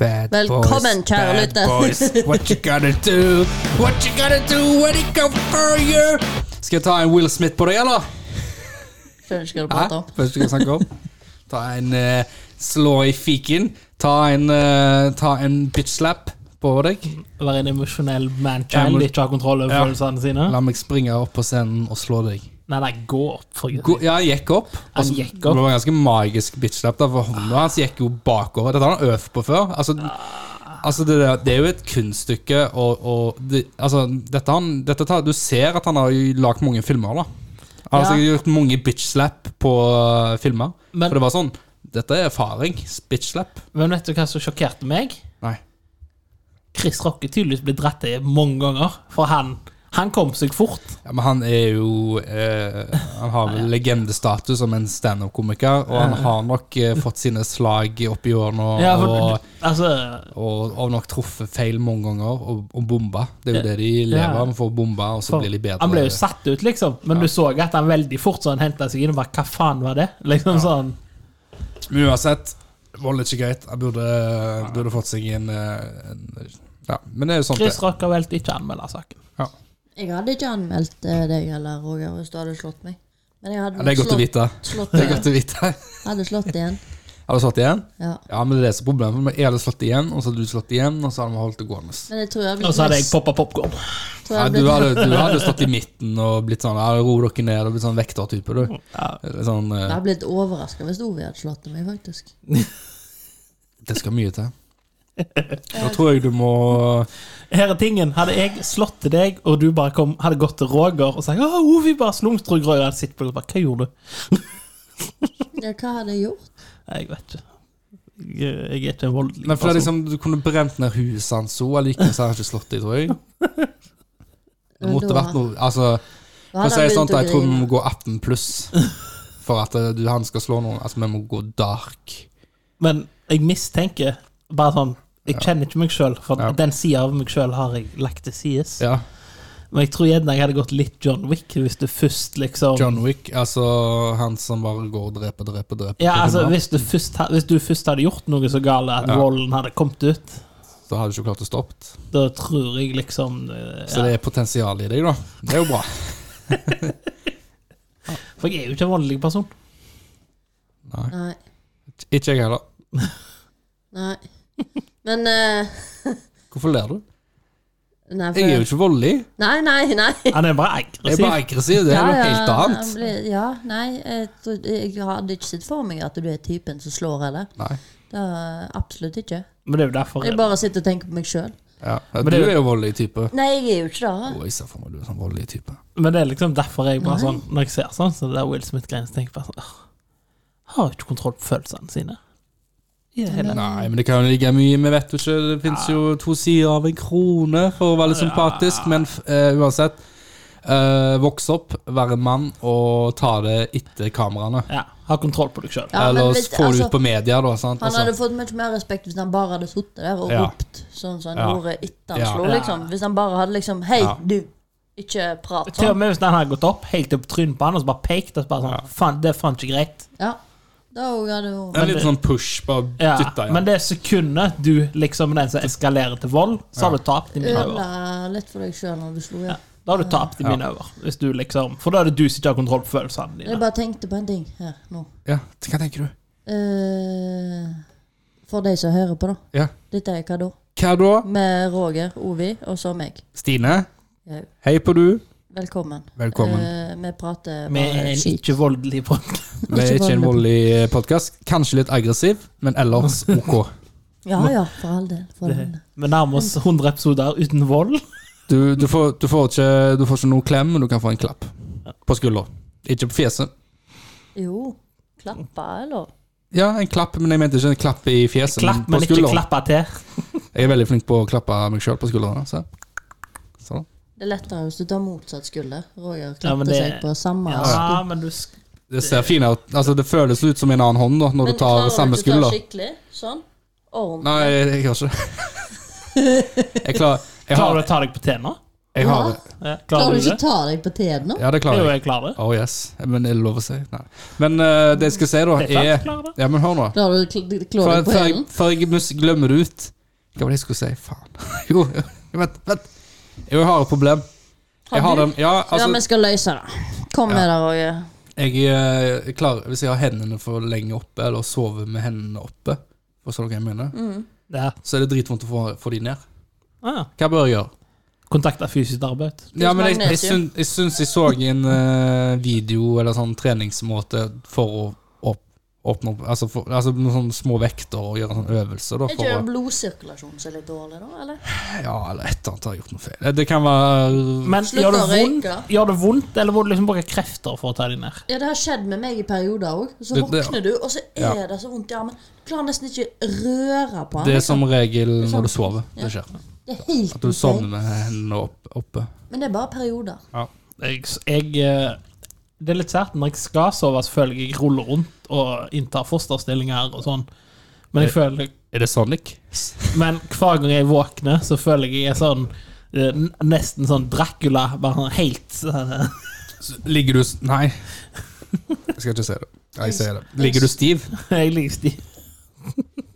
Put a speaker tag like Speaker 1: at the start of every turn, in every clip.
Speaker 1: Bad
Speaker 2: Velkommen,
Speaker 1: boys,
Speaker 2: kjære
Speaker 1: bad
Speaker 2: lytter.
Speaker 1: boys. What you gonna do? What you gonna do when it come for you? Skal jeg ta en Will Smith på deg, eller?
Speaker 2: Skjønner ikke hva du
Speaker 1: Hæ?
Speaker 2: prater om.
Speaker 1: Vet du hva jeg snakker om? Ta en eh, slå i fiken. Ta en, eh, ta en bitch slap på deg.
Speaker 3: Være en emosjonell manchild
Speaker 1: Emo-
Speaker 3: ikke ha kontroll over
Speaker 1: Ja.
Speaker 3: følelsene sine.
Speaker 1: La meg springe opp på scenen og slå deg.
Speaker 3: Nei, nei, gå opp. For
Speaker 1: Go ja, jeg gikk opp.
Speaker 3: Han
Speaker 1: Altså,
Speaker 3: gikk
Speaker 1: Det
Speaker 3: opp.
Speaker 1: var en ganske magisk bitch-slap, da, for hånda hans gikk jo bakover. Dette har han øvd på før. Altså, altså det, der- det er jo et kunststykke, og, og det, altså, dette han, dette tar, Du ser at han har jo lagd mange filmer, da. Han har
Speaker 3: Ja.
Speaker 1: sikkert gjort mange bitch-slap på øh, filmer.
Speaker 3: Men-
Speaker 1: for det var sånn Dette er erfaring. Bitch-slap.
Speaker 3: Men vet du hva som sjokkerte meg?
Speaker 1: Nei.
Speaker 3: Chris Rocke tydeligvis ble dratt til mange ganger, for han, han kom seg fort.
Speaker 1: Ja, men han er jo eh, Han har vel legendestatus som en standup-komiker, og han har nok eh, fått sine slag opp i årene. Og,
Speaker 3: Ja, for,
Speaker 1: og
Speaker 3: altså,
Speaker 1: og har nok truffet feil mange ganger og, og bomba. Det er jo det de lever av. De får bomba, og så
Speaker 3: for
Speaker 1: blir de bedre.
Speaker 3: han ble jo satt ut, liksom, men du så at han veldig fort sånn henta seg inn og bare Hva faen var det? Liksom sånn
Speaker 1: Men uansett, vold er ikke greit. Han burde, burde fått seg en, eh, en Ja, men det er jo sånt,
Speaker 3: Chris
Speaker 1: det.
Speaker 3: Rock har valgt ikke å anmelde saken.
Speaker 1: Ja.
Speaker 2: Jeg hadde ikke anmeldt eh, deg eller Roger hvis du hadde slått meg. Men jeg
Speaker 1: Ja,
Speaker 2: hadde
Speaker 1: det er godt å
Speaker 2: slått,
Speaker 1: vite.
Speaker 2: slått
Speaker 1: Det er
Speaker 2: igjen.
Speaker 1: godt å vite.
Speaker 2: Hadde slått igjen.
Speaker 1: Har du slått igjen?
Speaker 2: Ja.
Speaker 1: Ja, men det er det som er problemet. Men Jeg hadde slått igjen, og så hadde du slått igjen, og så hadde vi holdt det gående.
Speaker 2: Men jeg tror jeg hadde
Speaker 3: Og
Speaker 2: blitt
Speaker 3: så hadde jeg
Speaker 2: mest-
Speaker 3: poppa popkorn.
Speaker 2: tror jeg
Speaker 1: Ja,
Speaker 2: hadde
Speaker 1: du,
Speaker 2: blitt-
Speaker 1: hadde, du hadde stått i midten og blitt sånn ja, Ro dere ned og blitt sånn vektertype, du. Eller Sånn,
Speaker 2: Jeg
Speaker 1: eh,
Speaker 2: hadde blitt overraska hvis Ovi hadde slått meg, faktisk.
Speaker 1: det skal mye til. Da tror jeg du må
Speaker 3: Her er tingen. Hadde jeg slått til deg, og du bare kom, hadde gått til Roger og sagt 'Å, Ovi bare slumstrer grøy', og han sitter på og bare 'Hva gjorde du?'
Speaker 2: Ja, hva hadde jeg gjort?
Speaker 3: Nei, Jeg vet ikke. Jeg, jeg er ikke en voldelig altså.
Speaker 1: Men for det er liksom,
Speaker 3: person.
Speaker 1: Du kunne brent ned huset hans òg, allikevel så har han ikke slått deg, tror jeg. Det måtte vært noe altså,
Speaker 2: Da
Speaker 1: for å
Speaker 2: hadde
Speaker 1: si
Speaker 2: han
Speaker 1: det sånn,
Speaker 2: begynt å
Speaker 1: Jeg tror vi
Speaker 2: grine.
Speaker 1: må gå 18 pluss for at eh, du, han skal slå noen. Altså, Vi må gå dark. liksom-
Speaker 3: Men jeg mistenker bare sånn Jeg kjenner ikke meg sjøl, for
Speaker 1: Ja.
Speaker 3: den sida av meg sjøl har jeg lagt til sides.
Speaker 1: Ja,
Speaker 3: Men jeg tror gjerne jeg hadde gått litt John Wick hvis du først liksom
Speaker 1: John Wick, altså han som bare går og dreper, dreper, dreper.
Speaker 3: Ja, altså
Speaker 1: filmer,
Speaker 3: hvis du, først, ha- hvis du først hadde gjort noe så gale at
Speaker 1: Ja.
Speaker 3: volden hadde kommet ut,
Speaker 1: Så har du ikke klart å stoppe.
Speaker 3: da tror jeg liksom eh,
Speaker 1: Så
Speaker 3: ja.
Speaker 1: det er potensial i deg, da. Det er jo bra.
Speaker 3: For jeg er jo ikke en voldelig person.
Speaker 1: Nei,
Speaker 2: Nei.
Speaker 1: Ikke jeg heller.
Speaker 2: Nei. Men eh,
Speaker 1: Hvorfor ler du?
Speaker 2: Nei, for,
Speaker 1: Jeg er jo ikke voldelig.
Speaker 2: nei, nei. nei.
Speaker 3: Han er bare
Speaker 1: Jeg er
Speaker 3: aggressiv.
Speaker 1: bare aggressiv. Det er noe helt
Speaker 2: ja,
Speaker 1: annet.
Speaker 2: han ble- Ja, nei, jeg, tror- jeg hadde ikke sett for meg at du er typen som slår heller.
Speaker 1: Nei.
Speaker 2: Det er jeg absolutt ikke.
Speaker 3: Men det er jo derfor
Speaker 2: Jeg bare sitter og tenker på meg sjøl.
Speaker 1: Ja.
Speaker 3: Men
Speaker 1: Du
Speaker 3: det-
Speaker 1: er jo voldelig type.
Speaker 2: Nei, jeg er jo ikke det.
Speaker 1: Å, jeg ser for meg du er sånn voldelig type.
Speaker 3: Men det er liksom derfor jeg bare
Speaker 2: Nei.
Speaker 3: sånn Når jeg ser sånn, så det der Will Smith-greiene, så tenker jeg bare sånn «Åh, Har jo ikke kontroll på følelsene sine. I det hele tatt.
Speaker 1: Nei, men det kan jo ligge mye Vi vet jo ikke. Det fins jo to sider av en krone, for å være litt sympatisk, men f- eh, uansett. eh, vokse opp, være en mann og ta det etter kameraene.
Speaker 3: Ja, ha kontroll på deg sjøl.
Speaker 2: Ja, men
Speaker 1: Eller
Speaker 2: hvis-
Speaker 1: få det
Speaker 2: altså,
Speaker 1: ut på media, da. Sant?
Speaker 2: Han hadde
Speaker 1: Altså,
Speaker 2: fått mye mer respekt hvis han bare hadde sittet der og
Speaker 1: Ja.
Speaker 2: ropt sånn som han
Speaker 1: Ja.
Speaker 2: gjorde etter han
Speaker 1: Ja.
Speaker 2: slo,
Speaker 3: Ja.
Speaker 2: liksom. Hvis han bare hadde liksom Hei,
Speaker 1: Ja.
Speaker 2: du! Ikke prat
Speaker 3: Til og
Speaker 2: sånn.
Speaker 3: med hvis den hadde gått opp helt opp trynet på han og så bare pekt og så bare sånn Faen, det er faen ikke greit.
Speaker 2: Ja. Da òg hadde hun
Speaker 1: en litt sånn push, bare
Speaker 3: Ja,
Speaker 1: dytta igjen.
Speaker 3: Men det sekundet du liksom er den som eskalerer til vold, så har du tapt i mine øyne.
Speaker 2: ødela litt for deg sjøl når du slo igjen.
Speaker 3: Da har du tapt i mine øyne. Hvis du liksom For da er det du som ikke har kontroll på følelsene
Speaker 2: Jeg
Speaker 3: dine.
Speaker 2: bare tenkte på en ting her nå.
Speaker 1: Ja, hva tenker du?
Speaker 2: Eh, for de som hører på, da.
Speaker 1: Ja.
Speaker 2: Dette er hva da?
Speaker 1: Hva da?
Speaker 2: Med Roger, Ovi og så meg.
Speaker 1: Stine?
Speaker 2: Jau.
Speaker 1: Hei på du.
Speaker 2: Velkommen.
Speaker 1: Velkommen.
Speaker 2: Eh, vi prater
Speaker 3: Vi er
Speaker 2: bare
Speaker 3: en
Speaker 2: skit.
Speaker 3: ikke-voldelig folk.
Speaker 1: Vi er ikke en voldelig podkast. Kanskje litt aggressiv, men ellers ok.
Speaker 2: Ja ja, for all del. For all del.
Speaker 3: Vi nærmer oss 100 episoder uten vold.
Speaker 1: Du, du, får, du, får ikke, du får ikke noen klem, men du kan få en klapp på skuldra. Ikke på fjeset.
Speaker 2: Jo. Klappa, eller?
Speaker 1: Ja, en klapp, men jeg mente ikke en klapp i fjeset.
Speaker 3: Klapp,
Speaker 1: men
Speaker 3: men
Speaker 1: på
Speaker 3: ikke
Speaker 1: skulderen.
Speaker 3: klappa til.
Speaker 1: Jeg er veldig flink på å klappe meg sjøl på altså. skuldrene. Så. Sånn.
Speaker 2: Det er lettere hvis du tar motsatt skulder. Roger klapte
Speaker 3: Ja, men det-
Speaker 2: seg på samme skulder.
Speaker 3: Ja, men du sk-
Speaker 1: Det ser fin ut. Altså, det føles ut som en annen hånd da, når du tar samme
Speaker 2: Klarer du
Speaker 1: skulder.
Speaker 2: ikke å ta skikkelig? Sånn? Ordentlig?
Speaker 1: Nei, jeg, jeg klarer ikke Jeg, klarer, jeg,
Speaker 3: Klarer
Speaker 1: har,
Speaker 3: du å ta deg på tena?
Speaker 1: Jeg har
Speaker 2: Hva?
Speaker 1: det.
Speaker 3: Ja,
Speaker 2: Klarer du
Speaker 3: det?
Speaker 2: ikke å ta deg på tærne?
Speaker 1: Ja, det
Speaker 3: Jo,
Speaker 1: klarer jeg.
Speaker 3: jeg klarer det.
Speaker 1: Oh yes. Men er det lov å si? Nei. Men eh, det jeg skal si, da,
Speaker 3: Det er klart jeg klarer
Speaker 1: er
Speaker 3: det.
Speaker 1: Ja, men hør nå.
Speaker 2: Klarer du å kl- klå
Speaker 1: Før
Speaker 2: deg på
Speaker 1: før jeg,
Speaker 2: hælen?
Speaker 1: før jeg mus- glemmer det ut Hva var det jeg skulle si? Faen. Jo, jo, vent. vent. Jo, jeg har et problem. Jeg har den. Ja,
Speaker 2: Ja, vi
Speaker 1: altså,
Speaker 2: skal løse det. Kom med det, Roger.
Speaker 1: jeg eh, klarer Hvis jeg har hendene for lenge oppe, eller sover med hendene oppe, forstår du hva jeg mener,
Speaker 2: Mm.
Speaker 3: Ja.
Speaker 1: så er det dritvondt å få, få de ned.
Speaker 3: Ah,
Speaker 1: Hva bør jeg gjøre?
Speaker 3: kontakta fysisk arbeid.
Speaker 1: Ja, men jeg, jeg,
Speaker 2: magnesium.
Speaker 1: syns, jeg syns jeg så en eh, video eller sånn treningsmåte for å opp, åpne opp Altså, for, altså noen sånne små vekter og gjøre sånn øvelse. Da,
Speaker 2: Er
Speaker 1: for å,
Speaker 2: ikke blodsirkulasjonen som er litt dårlig, da? Eller?
Speaker 1: ja, eller et eller annet har jeg gjort noe feil. Det kan være
Speaker 3: Men
Speaker 2: Slutt
Speaker 3: gjør det,
Speaker 2: å
Speaker 3: vondt,
Speaker 2: røyke.
Speaker 3: gjør det vondt, eller må du liksom bruke krefter for å ta dem ned?
Speaker 2: Ja, det har skjedd med meg i perioder òg. Så
Speaker 1: Det- det-
Speaker 2: våkner du, og så er
Speaker 1: Ja.
Speaker 2: det så vondt i armen. Du klarer nesten ikke røre på
Speaker 1: Det
Speaker 2: den.
Speaker 1: er som regel når du sover. Det skjer.
Speaker 2: Det er helt
Speaker 1: At du
Speaker 2: ok.
Speaker 1: sovner med hendene opp, oppe.
Speaker 2: Men det er bare perioder.
Speaker 3: Jeg, jeg eh, Det er litt sært. Når jeg skal sove, så føler jeg jeg ruller rundt og inntar fosterstillinger og sånn. Men jeg føler
Speaker 1: Er det Sonic?
Speaker 3: Men hver gang jeg våkner, så føler jeg jeg er sånn eh, n- Nesten sånn Dracula. Bare sånn helt sånn, eh,
Speaker 1: Ligger du s- Nei. Jeg skal ikke si det. Nei, Jeg sier det. Ligger du stiv?
Speaker 3: Jeg ligger stiv.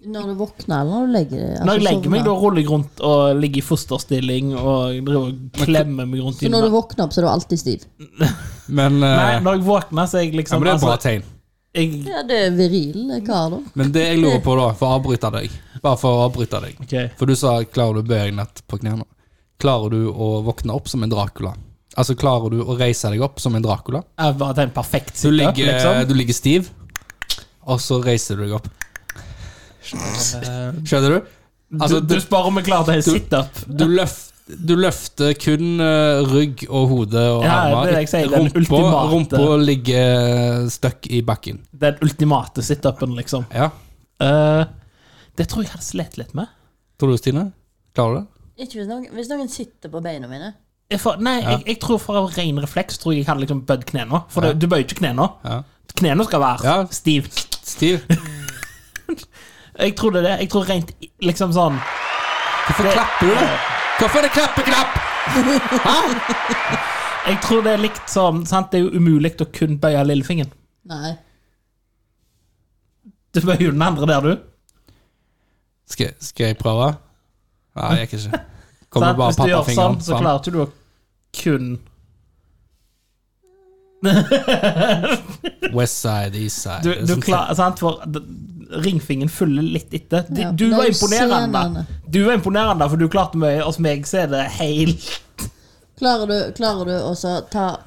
Speaker 2: Når du våkner, eller når du legger deg.
Speaker 3: Når jeg
Speaker 2: altså,
Speaker 3: legger meg, da
Speaker 2: sovner.
Speaker 3: ruller jeg rundt og ligger i fosterstilling og driver og klemmer meg rundt i
Speaker 2: Så når du
Speaker 3: meg.
Speaker 2: våkner opp, så er du alltid stiv?
Speaker 1: Men, eh,
Speaker 3: Nei, når jeg våkner, så er jeg
Speaker 1: ja,
Speaker 3: liksom
Speaker 1: men det er et bra
Speaker 3: altså,
Speaker 1: tegn.
Speaker 3: jeg,
Speaker 2: Ja, det er viril kar, da.
Speaker 1: Men det jeg lurer på, da, for å avbryte deg Bare for å avbryte deg.
Speaker 3: Ok.
Speaker 1: For du sa 'klarer du å bøye deg nett på knærne'? Klarer du å våkne opp som en Dracula? Altså, klarer du å reise deg opp som en Dracula?
Speaker 3: Jeg var til en perfekt
Speaker 1: Du
Speaker 3: situp,
Speaker 1: ligger,
Speaker 3: liksom.
Speaker 1: du ligger stiv, og så reiser du deg opp. Skjønner du? Altså,
Speaker 3: du,
Speaker 1: du,
Speaker 3: du spør om jeg klarer det
Speaker 1: du-
Speaker 3: situp.
Speaker 1: du, løf, du løfter kun eh, rygg og hode og
Speaker 3: Ja, det er
Speaker 1: armer.
Speaker 3: det jeg sier, den
Speaker 1: Rumpa,
Speaker 3: ultimate-
Speaker 1: rumpa ligger støkk i bakken.
Speaker 3: Den ultimate situpen, liksom.
Speaker 1: Ja.
Speaker 3: Eh, det tror jeg jeg hadde slitt litt med.
Speaker 1: Tror du, Stine? Klarer du det?
Speaker 2: Ikke hvis noen, hvis noen sitter på beina mine.
Speaker 3: Jeg får, nei,
Speaker 1: Ja.
Speaker 3: jeg, jeg tror for av ren refleks tror jeg jeg hadde liksom bøyd knærne. For
Speaker 1: Ja.
Speaker 3: det, du bøyer ikke knærne.
Speaker 1: Ja.
Speaker 3: Knærne skal være
Speaker 1: Ja.
Speaker 3: stiv.
Speaker 1: Stiv?
Speaker 3: Jeg tror det er det. Jeg tror rent i- liksom sånn
Speaker 1: Hvorfor
Speaker 3: Det-
Speaker 1: klapper du? Hvorfor er det klappeknapp?
Speaker 3: Jeg tror det er likt som sant? Det er jo umulig å kun bøye lillefingeren.
Speaker 2: Nei.
Speaker 3: Du bøyer jo den andre der, du.
Speaker 1: Skal, skal jeg prøve? Nei, jeg gikk ikke. Kommer
Speaker 3: Sant?
Speaker 1: bare
Speaker 3: Hvis du gjør sånn,
Speaker 1: pappafingeren
Speaker 3: så
Speaker 1: fram.
Speaker 3: klarer ikke du å kun
Speaker 1: West side, east side.
Speaker 3: Du, du
Speaker 1: Sånn-
Speaker 3: klarer, sant? For d- ringfingeren følger litt etter. Du,
Speaker 2: Ja,
Speaker 3: du
Speaker 2: det er
Speaker 3: var
Speaker 2: jo senene.
Speaker 3: imponerende. Du var imponerende, for du klarte mye. Hos meg så er det helt
Speaker 2: Klarer du, klarer du også å ta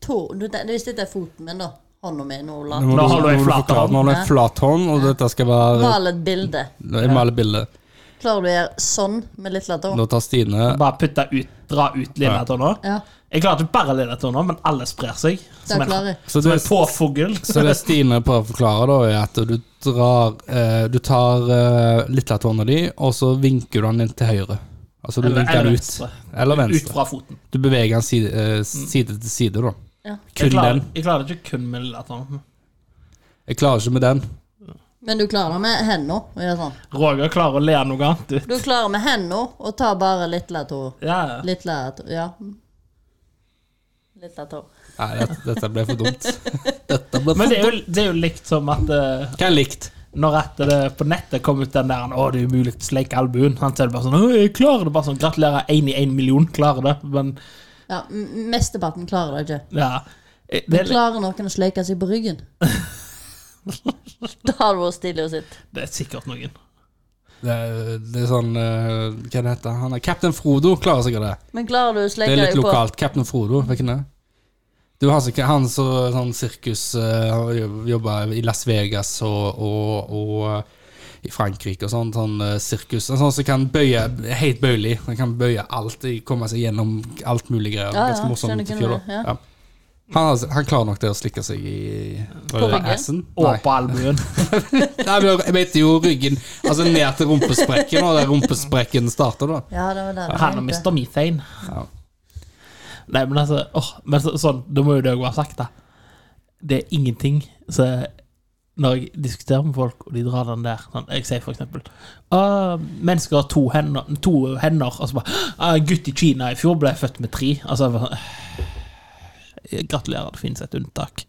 Speaker 2: tå du- det- Hvis dette er foten min, da. Hånda mi nå, la.
Speaker 1: må
Speaker 3: Nå
Speaker 1: du-
Speaker 3: holder jeg
Speaker 1: må du
Speaker 3: flat
Speaker 1: forklare.
Speaker 3: hånd.
Speaker 1: Nå holder jeg flat hånd, og dette skal være
Speaker 2: Mal et bilde.
Speaker 1: Jeg maler bildet.
Speaker 2: Klarer du å gjøre sånn med litt tå?
Speaker 1: Nå tar Stine
Speaker 3: Bare putte ut, dra ut lilletåna.
Speaker 2: Ja,
Speaker 3: Jeg klarer ikke bare lilletåna, men alle sprer seg. Som
Speaker 2: det
Speaker 3: en,
Speaker 2: klarer jeg.
Speaker 1: Så
Speaker 3: som
Speaker 1: det,
Speaker 3: en påfugl.
Speaker 1: så det Stine prøver å forklare, da, er at du drar eh, Du tar eh, lilletåa di, og så vinker du den inn til høyre. Altså du
Speaker 3: Eller-
Speaker 1: vinker
Speaker 3: eller
Speaker 1: den ut.
Speaker 3: venstre.
Speaker 1: Eller
Speaker 3: Ut
Speaker 1: venstre.
Speaker 3: fra foten.
Speaker 1: Du beveger den side, eh, side til side, da.
Speaker 2: Ja.
Speaker 3: Jeg
Speaker 1: Kun
Speaker 3: klarer,
Speaker 1: den.
Speaker 3: jeg klarer det ikke kun med lilletåna.
Speaker 1: Jeg klarer ikke med den.
Speaker 2: Men du klarer det med hendene å gjøre sånn.
Speaker 3: Roger klarer å le noe annet ut.
Speaker 2: Du klarer med hendene å ta bare litt tå.
Speaker 3: Ja, ja.
Speaker 2: Litt tå, ja. Litt tå.
Speaker 1: Nei, dette, dette ble for dumt. Dette ble for
Speaker 3: Men det
Speaker 1: dumt.
Speaker 3: er, jo, det er jo likt som at eh,
Speaker 1: Hva er likt?
Speaker 3: når at det på nettet kom ut den der 'Å, det er umulig å sleike albuen', han sier bare sånn «Å, 'Jeg klarer det', bare sånn 'Gratulerer, én i én million klarer det', men
Speaker 2: Ja, m- mesteparten klarer det ikke.
Speaker 3: ja. Det
Speaker 2: Men
Speaker 3: er, litt-
Speaker 2: klarer noen å sleike seg på ryggen? da hadde det vært stilig å sitte.
Speaker 3: det er sikkert noen.
Speaker 1: Det er, det er sånn eh, Hva det heter han? Captain Frodo klarer sikkert det.
Speaker 2: Men klarer du å
Speaker 1: Det
Speaker 2: sleike
Speaker 1: er litt
Speaker 2: deg på
Speaker 1: lokalt. Captain Frodo, vet du hvem det er? Det er jo han som han som sånn sirkus uh, jobba i Las Vegas og, og, og eh, i Frankrike og sånn. Sånn eh, sirkus. En sånn som kan bøye helt bøyelig. Han kan bøye alt, i- komme seg gjennom alt mulig greier.
Speaker 2: Ja, ja,
Speaker 1: Ganske morsom
Speaker 2: skjønner hvem
Speaker 1: fyr,
Speaker 2: det er,
Speaker 1: da.
Speaker 2: ja.
Speaker 1: Ja. Han, har- han klarer nok det å slikke seg i
Speaker 2: ryggen?
Speaker 1: assen.
Speaker 3: Og
Speaker 1: Nei.
Speaker 3: på albuen.
Speaker 1: Nei, men jeg mente jo ryggen Altså ned til rumpesprekken, og der rumpesprekken starter, da.
Speaker 2: Ja, det var det.
Speaker 3: Han og Mr. Methane. Nei, men altså åh, men så, sånn, Da må jo det òg være sagt, da. Det er ingenting som når jeg diskuterer med folk, og de drar den der sånn, Jeg sier for eksempel «Ah, Mennesker har to hender, to hender og så bare «Ah, En gutt i Kina i fjor ble født med tre. Altså, jeg bare, «Eh, Gratulerer, det finnes et unntak.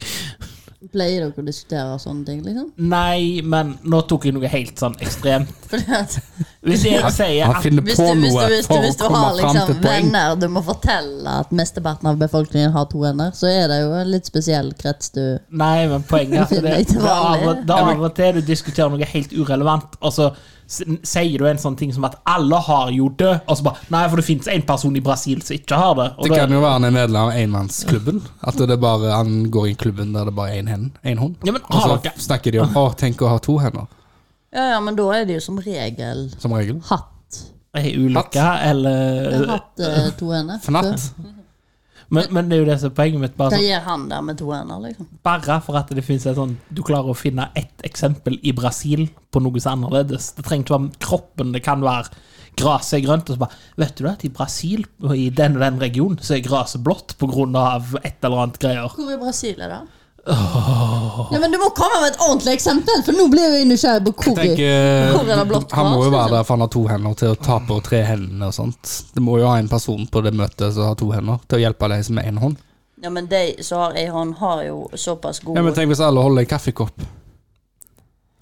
Speaker 2: Pleier dere å diskutere sånne ting, liksom?
Speaker 3: Nei, men nå tok jeg noe helt sånn ekstremt.
Speaker 2: Fordi at
Speaker 3: Hvis jeg sier
Speaker 1: Han
Speaker 3: at
Speaker 1: finner
Speaker 2: hvis
Speaker 1: på
Speaker 2: du, hvis du,
Speaker 1: noe
Speaker 2: hvis du,
Speaker 1: for å
Speaker 2: hvis du
Speaker 1: komme fram
Speaker 2: har
Speaker 1: til
Speaker 2: liksom
Speaker 1: et poeng.
Speaker 2: venner du må fortelle at mesteparten av befolkningen har to hender, så er det jo en litt spesiell krets du
Speaker 3: Nei, men poenget er at det,
Speaker 2: Litt
Speaker 3: det er av
Speaker 2: vanlig.
Speaker 3: det er av og til du diskuterer noe helt urelevant, og så s- sier du en sånn ting som at alle har jo det, og så bare Nei, for det fins én person i Brasil som ikke har det. Og
Speaker 1: Det kan jo
Speaker 3: da,
Speaker 1: være han er medlem av enmannsklubben. At det er bare, han går i klubben der det bare er én hen- én hånd.
Speaker 3: Ja, men har
Speaker 1: Og så
Speaker 3: dere-
Speaker 1: snakker de om å, tenk å ha to hender,
Speaker 2: Ja, ja, men da er det jo som regel
Speaker 1: som regel.
Speaker 2: hatt.
Speaker 3: er ulykke,
Speaker 2: Jeg har
Speaker 3: eller
Speaker 2: hatt eh, to hender.
Speaker 1: Fnatt.
Speaker 3: men, men det er jo det som er poenget mitt. Bare,
Speaker 2: Hva
Speaker 3: sånn,
Speaker 2: gjør han der med to hender, liksom?
Speaker 3: bare for at det fins et sånn Du klarer å finne ett eksempel i Brasil på noe som er annerledes. Det trenger ikke være kroppen, det kan være Gresset er grønt, og så bare Vet du at i Brasil, og i den og den regionen, så er gresset blått på grunn av et eller annet greier.
Speaker 2: Hvor i Brasil er det? Ja, men du må komme med et ordentlig eksempel, for nå blir jeg nysgjerrig på hvor i-
Speaker 1: Tenker,
Speaker 2: Hvor er det blått
Speaker 1: eh, han må
Speaker 2: gras,
Speaker 1: jo være
Speaker 2: liksom?
Speaker 1: der for han har to hender til å ta på tre hendene og sånt. Det må jo ha en person på det møtet som har to hender, til å hjelpe deg som er én hånd.
Speaker 2: Ja, men de som har ei hånd, har jo såpass god
Speaker 1: Ja, men tenk hvis alle holder en kaffekopp.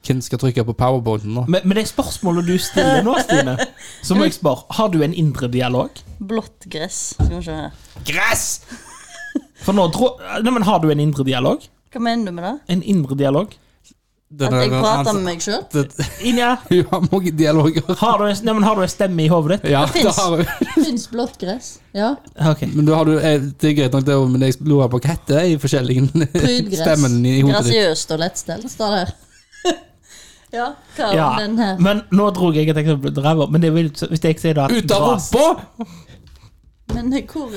Speaker 1: Hvem skal trykke på powerpointen nå?
Speaker 3: Men, men det spørsmålet du stiller nå, Stine, så må jeg spørre Har du en indre dialog?
Speaker 2: blått gress. Skal vi se her.
Speaker 1: Gress!
Speaker 3: For nå tror Nei, men har du en indre dialog?
Speaker 2: Hva mener du med det?
Speaker 3: En indre dialog?
Speaker 1: Det
Speaker 2: At
Speaker 1: der-
Speaker 2: jeg prater med meg sjøl?
Speaker 1: det-
Speaker 3: Inja,
Speaker 1: Hun har mange dialoger.
Speaker 3: har du en, nei, men har du en stemme i hodet ditt?
Speaker 1: Ja,
Speaker 2: Det
Speaker 1: det
Speaker 2: finnes.
Speaker 1: har hun.
Speaker 2: Fins blått gress? Ja.
Speaker 3: Ok.
Speaker 1: Men da har du, eh, det er greit nok, det, også, men jeg lurer på hva heter de forskjellige
Speaker 2: Prydgress.
Speaker 1: stemmene i hodet ditt.
Speaker 2: Grasiøst og lettstelt, står det her. ja, hva er
Speaker 3: Ja,
Speaker 2: den her?
Speaker 3: men nå dro jeg et eksempel til ræva. Men det vil, hvis jeg sier da at
Speaker 1: Ut av
Speaker 3: gras-
Speaker 1: rumpa!
Speaker 2: Men eh, hvor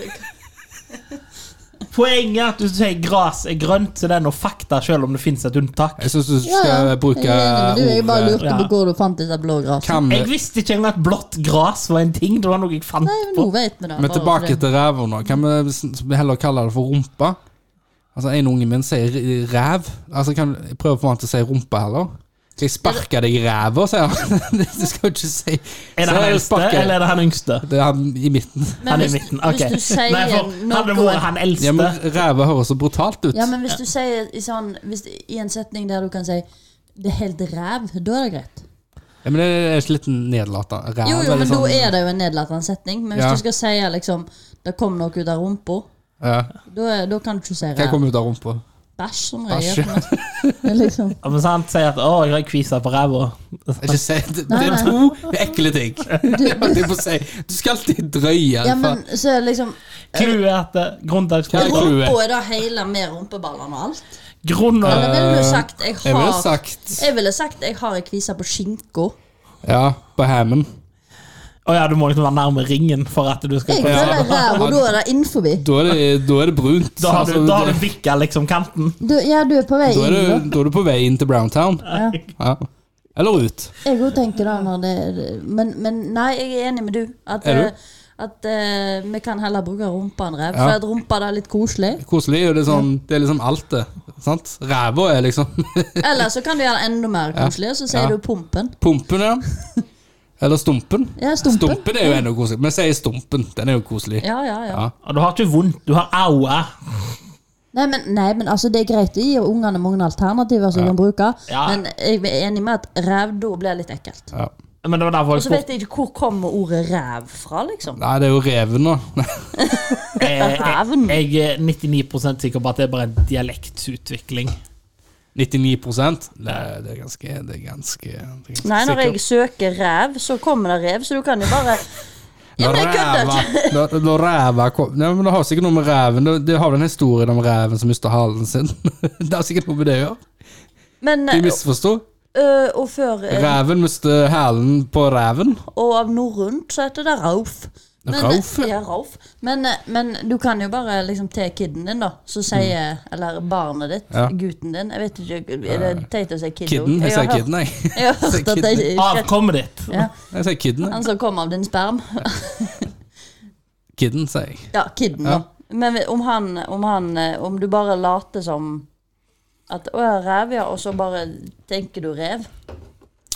Speaker 3: Poenget er at du sier gras er grønt, så det er noe fakta, selv om det fins et unntak.
Speaker 1: Jeg syns du skal bruke
Speaker 2: jeg, du, jeg
Speaker 1: ordet
Speaker 2: bare lurte på
Speaker 3: ja.
Speaker 2: hvor du fant dette blå gresset.
Speaker 1: kan.
Speaker 3: Jeg visste ikke engang at blått gras var en ting. Det var noe jeg fant
Speaker 2: Nei, men nå
Speaker 3: på.
Speaker 2: vet vi det.
Speaker 1: Men
Speaker 2: bare
Speaker 1: tilbake
Speaker 2: fordi-
Speaker 1: til ræva nå. Kan vi s- heller kalle det for rumpa? Altså, En unge min sier r- ræv. Altså, kan jeg prøve å få han til å si rumpa heller? Skal jeg sparke deg i ræva, sier han. Du skal jo ikke si
Speaker 3: Er det
Speaker 1: Så
Speaker 3: han
Speaker 1: jeg
Speaker 3: eldste,
Speaker 1: sparker-
Speaker 3: eller er det han yngste?
Speaker 1: Det er han i midten.
Speaker 2: Men
Speaker 3: han er
Speaker 2: hvis-
Speaker 3: i midten. ok.
Speaker 2: Hvis du sier
Speaker 3: Nei, for hadde det
Speaker 2: noe-
Speaker 3: vært han eldste
Speaker 1: Ja, men Ræva høres så brutalt ut.
Speaker 2: Ja, men hvis du sier i, sånn, hvis, i en setning der du kan si 'det er helt ræv', da er det greit.
Speaker 1: Ja, men Det er ikke litt nedlatende. Ræv
Speaker 2: Jo, jo,
Speaker 1: er
Speaker 2: men
Speaker 1: litt
Speaker 2: da
Speaker 1: sånn-
Speaker 2: er det jo en nedlatende setning. Men hvis
Speaker 1: Ja.
Speaker 2: du skal si liksom 'det kom noe ut av rumpa',
Speaker 1: Ja.
Speaker 2: da er- da kan du ikke si
Speaker 1: Hva
Speaker 2: ræv.
Speaker 1: kommer ut av rumpa? Ah,
Speaker 2: Bæsj, som
Speaker 1: Bæsj.
Speaker 2: regel. Men liksom.
Speaker 3: Ja, men sant, sier at 'å, jeg har kvisa på ræva'.
Speaker 1: Ikke si, det,
Speaker 2: Nei,
Speaker 1: det er
Speaker 2: nei.
Speaker 1: to ekle ting. Jeg holdt på å si, du skal alltid drøye.
Speaker 2: Ja, men så er det liksom
Speaker 3: Clouet er at eh, grunnen til at jeg
Speaker 1: Ja,
Speaker 3: skulle-
Speaker 1: clouet.
Speaker 2: Rumpa er da hele med rumpeballene og alt?
Speaker 3: Grunnen
Speaker 2: Eller ville du sagt 'jeg
Speaker 1: Eh, jeg ville
Speaker 2: har
Speaker 1: sagt
Speaker 2: Jeg ville sagt 'jeg har ei kvise på skinka'.
Speaker 1: Ja, på hammen.
Speaker 3: Å ja, du må liksom være nærme ringen for at du skal
Speaker 2: Jeg
Speaker 3: kunne
Speaker 2: føler ræv, og da er det innenfor.
Speaker 1: Da er det, da er det brunt.
Speaker 3: Da har
Speaker 1: Altså,
Speaker 3: du, da har
Speaker 1: det-
Speaker 3: du vikka liksom kanten.
Speaker 2: Du, ja, du er på vei
Speaker 1: da, er
Speaker 2: inn. da.
Speaker 1: du, da er du på vei inn til Browntown.
Speaker 2: Ja.
Speaker 1: Ja. Eller ut.
Speaker 2: Jeg òg tenker det når det men, men nei, jeg er enig med du. At,
Speaker 1: Er du?
Speaker 2: eh, at eh, vi kan heller bruke rumpa enn ræv.
Speaker 1: Ja.
Speaker 2: For at rumpa det er litt koselig.
Speaker 1: Koselig. Og det, er sånn, det er liksom alt, det. Sant? Ræva er liksom
Speaker 2: Eller så kan du gjøre det enda mer koselig, og så sier
Speaker 1: Ja.
Speaker 2: du pumpen.
Speaker 1: Pumpen, ja. Eller stumpen.
Speaker 2: Ja, stumpen.
Speaker 1: Stumpen er jo enda koselig. Vi sier stumpen. Den er jo koselig.
Speaker 2: Ja, ja, ja.
Speaker 1: Ja.
Speaker 3: Og du har ikke vondt, du har aua.
Speaker 2: Nei, men, nei, men altså, det er greit å gi ungene mange alternativer som de kan bruke,
Speaker 3: Ja.
Speaker 2: men jeg er enig med at ræv da blir litt ekkelt.
Speaker 1: Ja.
Speaker 3: Men det var derfor jeg
Speaker 2: Og så
Speaker 3: spurte.
Speaker 2: vet jeg ikke hvor kommer ordet ræv fra, liksom.
Speaker 1: Nei, det er jo reven, da.
Speaker 3: Eh,
Speaker 2: Ræven.
Speaker 3: Jeg, jeg er 99 sikker på at det er bare en dialektutvikling.
Speaker 1: 99 Nei, det er ganske, det er ganske, det er ganske
Speaker 2: Nei, når
Speaker 1: sikkert.
Speaker 2: jeg søker ræv, så kommer det rev, så du kan jo bare Ja, men jeg kødder
Speaker 1: Ræva.
Speaker 2: ikke!
Speaker 1: Når, når ræva kom Nei, men Det har sikkert noe med reven Det, det har vel en historie om reven som mista halen sin. det har sikkert noe med det å gjøre.
Speaker 2: Men,
Speaker 1: De
Speaker 2: eh,
Speaker 1: misforsto.
Speaker 2: øh, og før eh,
Speaker 1: Reven mistet halen på reven.
Speaker 2: Og av norrønt så heter det rauf.
Speaker 1: Rauf, ja.
Speaker 2: ja, rauf. Men, eh, men du kan jo bare liksom til kiden din, da, så sier Eller barnet ditt,
Speaker 1: Mm. Ja.
Speaker 2: gutten din. Jeg vet ikke, Er det teit å si kid?
Speaker 1: Kidden.
Speaker 2: også?
Speaker 1: Jeg sier
Speaker 2: har
Speaker 1: kidden, jeg.
Speaker 2: hørt- Jeg har hørt at det er
Speaker 3: Avkommet ditt.
Speaker 2: ja,
Speaker 1: Jeg sier kidden. jeg.
Speaker 2: Han som kom av din sperm.
Speaker 1: Kidden, sier jeg.
Speaker 2: Ja, kiden,
Speaker 1: Ja.
Speaker 2: da. Men om han, om han eh, Om du bare later som At å, jeg er rev, ja. Og så bare tenker du rev.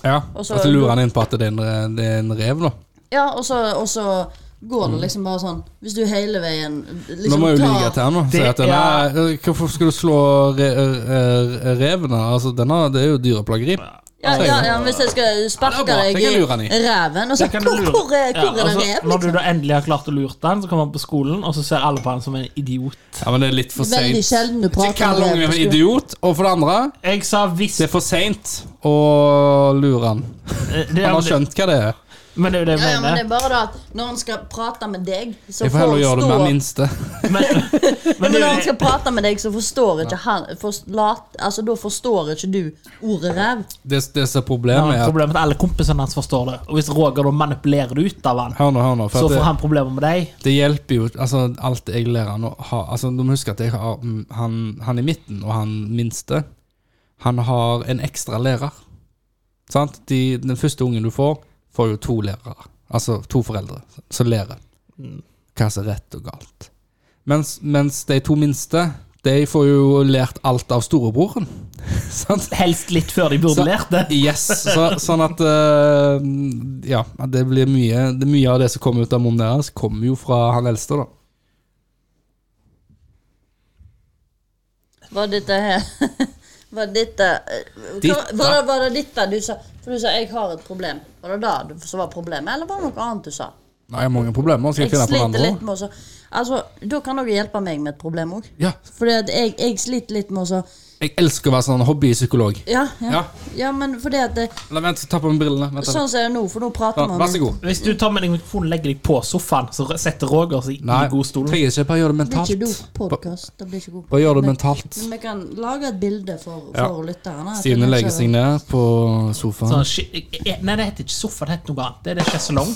Speaker 1: Ja,
Speaker 2: Og
Speaker 1: og
Speaker 2: så-
Speaker 1: så lurer han inn på at det er en, det er en rev, da.
Speaker 2: Ja, og så, og så går det liksom bare sånn Hvis du hele veien liksom
Speaker 1: Nå Mm. må jeg jo
Speaker 2: tar-
Speaker 1: ligge til han og si
Speaker 3: Det-
Speaker 1: at den
Speaker 3: ja.
Speaker 1: er, Hvorfor skal du slå re, eh, re, revene? Altså, den er, det er jo dyreplageri.
Speaker 2: Ja, ja, ja, hvis jeg skal
Speaker 1: Altså, Ja, det er
Speaker 2: sparke
Speaker 1: bra.
Speaker 2: deg
Speaker 1: Det kan jeg lure han i.
Speaker 2: i ræven og så
Speaker 3: Det kan du
Speaker 2: Hvor,
Speaker 3: lure.
Speaker 2: hvor er,
Speaker 3: Ja,
Speaker 2: hvor er
Speaker 3: altså,
Speaker 2: det liksom? rev?
Speaker 3: Når du da endelig har klart å lure han, så kommer han på skolen, og så ser alle på han som en idiot.
Speaker 1: Ja, men det er litt for seint.
Speaker 2: Veldig sjelden du
Speaker 1: Ikke
Speaker 2: prater
Speaker 1: kall
Speaker 2: om
Speaker 1: ungen
Speaker 2: rev.
Speaker 1: en idiot, og for det andre
Speaker 3: Jeg sa hvis
Speaker 1: det er for seint å lure han.
Speaker 3: Eh, det er-
Speaker 1: Han har skjønt hva det er.
Speaker 3: Men det er jo det jeg
Speaker 2: Ja, ja, men det
Speaker 3: mener.
Speaker 2: er bare da at når han skal prate med deg, så
Speaker 1: Jeg får heller gjøre det med den minste.
Speaker 3: Men,
Speaker 2: Men
Speaker 3: men det
Speaker 2: når
Speaker 3: er
Speaker 2: han
Speaker 3: jo
Speaker 2: skal prate med deg, så forstår ikke han for, lat, Altså, da forstår ikke du ordet ræv.
Speaker 1: Det, det som er problemet,
Speaker 3: Ja,
Speaker 1: er at
Speaker 3: problemet er at alle kompisene hans forstår det. Og hvis Roger da manipulerer det ut av han,
Speaker 1: Hør nå, hør nå.
Speaker 3: så
Speaker 1: For
Speaker 3: får
Speaker 1: at det,
Speaker 3: han problemer med deg.
Speaker 1: det hjelper jo altså, Alt jeg lærer han å ha altså, Du må huske at jeg har, mm, han, han i midten og han minste, han har en ekstra lærer. Sant? De, den første ungen du får, får jo to lærere. Altså to foreldre som lærer hva som er rett og galt. Mens, mens de to minste, de får jo lært alt av storebroren. Sant?
Speaker 3: Helst litt før de burde
Speaker 1: Så-
Speaker 3: lært det.
Speaker 1: Yes, så, sånn at eh, Ja, det blir mye det, Mye av det som kommer ut av munnen deres, kommer jo fra han eldste, da.
Speaker 2: Var dette her Var dette eh,
Speaker 1: Ditt,
Speaker 2: hva- var, det, var det dette du sa? For du sa 'jeg har et problem'. Var det da du- som var problemet, eller var det noe annet du sa?
Speaker 1: Nei, jeg har mange problemer. Skal
Speaker 2: Jeg
Speaker 1: jeg finne på
Speaker 2: sliter
Speaker 1: andre
Speaker 2: litt med å så- Altså, Da kan dere hjelpe meg med et problem òg.
Speaker 1: Ja,
Speaker 2: Fordi at jeg, jeg sliter litt med å så
Speaker 1: Jeg elsker å være sånn hobbypsykolog.
Speaker 2: ja, ja.
Speaker 1: Ja.
Speaker 2: ja, men fordi at det,
Speaker 1: La, vent, ta på meg brillene. Vent,
Speaker 2: Sånn som det er nå, for nå prater
Speaker 1: ja,
Speaker 2: man
Speaker 1: vær så god.
Speaker 3: Hvis du tar med deg mikrofonen og legger deg på sofaen, så setter Roger seg i
Speaker 1: Nei,
Speaker 3: godstolen.
Speaker 1: trenger ikke. Bare gjør det
Speaker 2: Det blir ikke
Speaker 1: mentalt.
Speaker 2: god podkast. Det blir ikke god.
Speaker 1: Bare gjør det mentalt.
Speaker 2: Men vi kan lage et bilde for, for
Speaker 1: Ja.
Speaker 2: lytterne. at
Speaker 1: Stine
Speaker 2: det
Speaker 1: legger
Speaker 2: kanskje-
Speaker 1: seg ned på sofaen.
Speaker 3: Sånn, ski- eh, nei, det heter ikke sofa, det heter noe annet. Det er det sjeselong.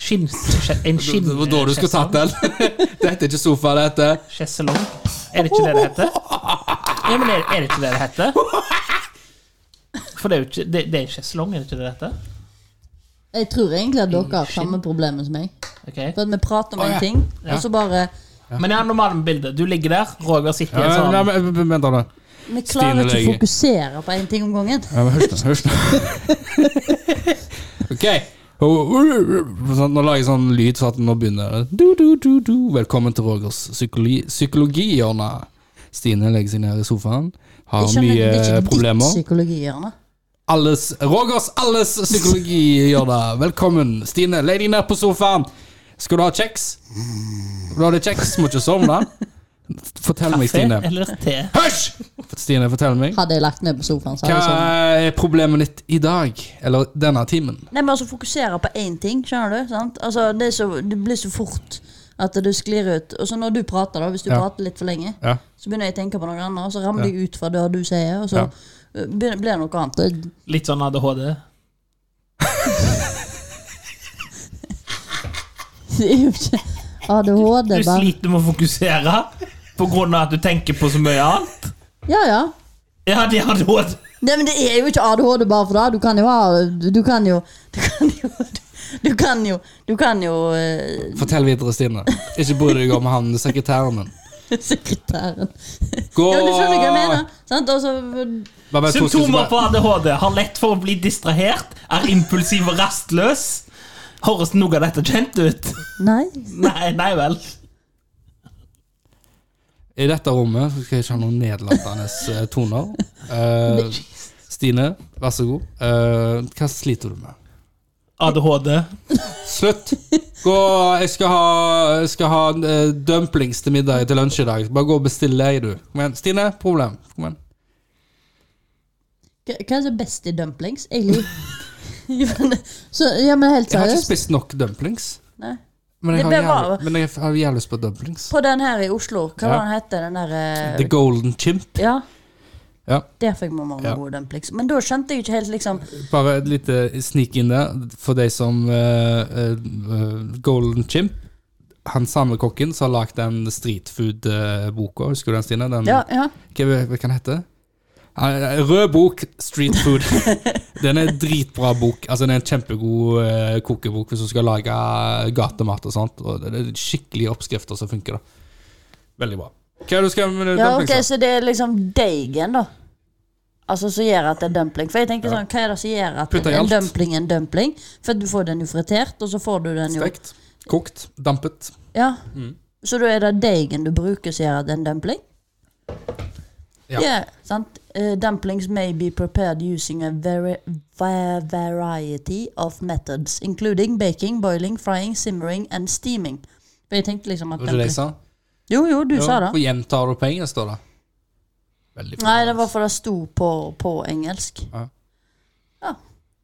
Speaker 3: Skinn... skje- En skinn...
Speaker 1: Det var da du skulle tatt den. Det heter ikke sofa, det heter
Speaker 3: Sjeselong. Er det ikke det det heter? Ja, men er, er det ikke det det heter? For det er jo ikke Det, det er sjeselong, er det ikke det det heter?
Speaker 2: Jeg tror egentlig at dere har samme problemet som meg.
Speaker 3: Ok.
Speaker 2: For at vi prater om
Speaker 1: Å,
Speaker 2: en
Speaker 1: ja.
Speaker 2: ting,
Speaker 1: Ja.
Speaker 2: og så bare
Speaker 3: Men ja, normalt med bildet. Du ligger der, Roger sitter i en
Speaker 1: Ja,
Speaker 3: sånn
Speaker 1: Eh, men- men- men- Vent, da.
Speaker 2: Vi klarer ikke å
Speaker 1: legger-
Speaker 2: fokusere på én ting om gangen.
Speaker 1: Ja, men hørs nå, hørs nå. Ok. Sånn, Nå lager jeg sånn lyd sånn at nå begynner det. du, du, du, du. Velkommen til Rogers psykologi- psykologihjørne. Stine legger seg ned i sofaen. Har
Speaker 2: Jeg skjønner, det er
Speaker 1: mye
Speaker 2: ikke
Speaker 1: problemer.
Speaker 2: ditt psykologihjørne.
Speaker 1: Alles, Rogers alles psykologihjørne. Velkommen. Stine, legg deg ned på sofaen. Skal du ha kjeks? Vil du ha litt kjeks? Må ikke sovne. Fortell meg,
Speaker 3: kaffe
Speaker 1: Stine.
Speaker 3: eller te.
Speaker 1: Hysj! Stine, fortell meg.
Speaker 2: Hadde jeg lagt ned på sofaen, så hadde jeg sånn.
Speaker 1: Hva er problemet ditt i dag? Eller denne timen?
Speaker 2: Nei, men altså fokusere på én ting, skjønner du? Sant? Altså, det, er så, det blir så fort at det sklir ut. Og så når du prater, da, hvis du
Speaker 1: Ja.
Speaker 2: prater litt for lenge,
Speaker 1: Ja.
Speaker 2: så begynner jeg å tenke på noe annet, og så ramler jeg ut fra det du sier, og så
Speaker 1: Ja.
Speaker 2: eh, begynner- blir det noe annet. Det-
Speaker 3: Litt sånn ADHD.
Speaker 2: Det er jo ikke ADHD,
Speaker 3: Du
Speaker 2: bare
Speaker 3: sliter med å fokusere på grunn av at du tenker på så mye annet.
Speaker 2: Ja, ja.
Speaker 3: Ja, de har ADHD.
Speaker 2: Nei, men det er jo ikke ADHD bare for det. Du kan jo ha Du kan jo Du kan jo Du kan jo, du kan jo eh,
Speaker 1: Fortell videre, Stine. Ikke bry deg om han sekretæren din.
Speaker 2: sekretæren
Speaker 1: Gå
Speaker 2: Ja, men du skjønner hva jeg mener. Sant? Altså,
Speaker 1: Bare vent to sekunder, bare-
Speaker 3: Symptomer på ADHD. Har lett for å bli distrahert. Er impulsiv og rastløs. Høres noe av dette kjent ut?
Speaker 2: nei.
Speaker 3: Nei, nei vel.
Speaker 1: I dette rommet så skal jeg ikke ha noen nedlatende eh, toner. Eh, Stine, vær så god. Eh, hva sliter du med?
Speaker 3: ADHD.
Speaker 1: Slutt! Gå, jeg skal ha, jeg skal ha eh, dumplings til middag til lunsj i dag. Bare gå og bestill deg, du. Kom igjen. Stine, problem. Kom igjen.
Speaker 2: Hva hva er så best i dumplings? Jeg liker Så, ja, men helt
Speaker 1: Jeg har ikke
Speaker 2: seriøst.
Speaker 1: spist nok dumplings.
Speaker 2: Nei.
Speaker 1: Men jeg har
Speaker 2: Det ble bra.
Speaker 1: jævlig, men jeg har jævlig lyst på dumplings.
Speaker 2: På den her i Oslo, hva
Speaker 1: Ja.
Speaker 2: var den hette den der eh,
Speaker 1: The Golden Chimp.
Speaker 2: Ja,
Speaker 1: Ja.
Speaker 2: der fikk mamma
Speaker 1: Ja. Mm.
Speaker 2: gode dumplings. Men da skjønte jeg ikke helt, liksom
Speaker 1: Bare et lite snik inn der for de som eh, eh, eh, Golden Chimp. Han samme kokken som har lagd den streetfood-boka. Husker du den, Stine? Den,
Speaker 2: Ja, ja.
Speaker 1: Hva, hva kan den hete? Eh, Rød bok, street food. den er en dritbra bok. Altså, den er en kjempegod eh, kokebok hvis du skal lage gatemat og sånt. Og det er skikkelig oppskrifter som funker, da. Veldig bra. Hva er det du skal med
Speaker 2: Ja,
Speaker 1: dumpling?
Speaker 2: ok, Så det er liksom deigen, da. Altså Som gjør at det er dumpling. For jeg tenker sånn, Hva er det som gjør at
Speaker 1: Putter i
Speaker 2: en
Speaker 1: alt.
Speaker 2: dumpling er en dumpling? For du får den jo fritert, og så får du den jo
Speaker 1: Stekt, Mm. kokt, dampet.
Speaker 2: Ja. Så da er det deigen du bruker som gjør at det er en dumpling?
Speaker 1: Ja.
Speaker 2: Yeah, sant? Eh, dumplings may be prepared using a very, va- variety of methods, including baking, boiling, frying, simmering and steaming. For jeg tenkte liksom at
Speaker 1: Var det det
Speaker 2: dumpling-
Speaker 1: jeg sa?
Speaker 2: Jo, jo, du sa det.
Speaker 1: Hvorfor gjentar du på engelsk, da? da? Veldig
Speaker 2: Nei, det var for det sto på, på engelsk.
Speaker 1: Ja.
Speaker 2: Ja.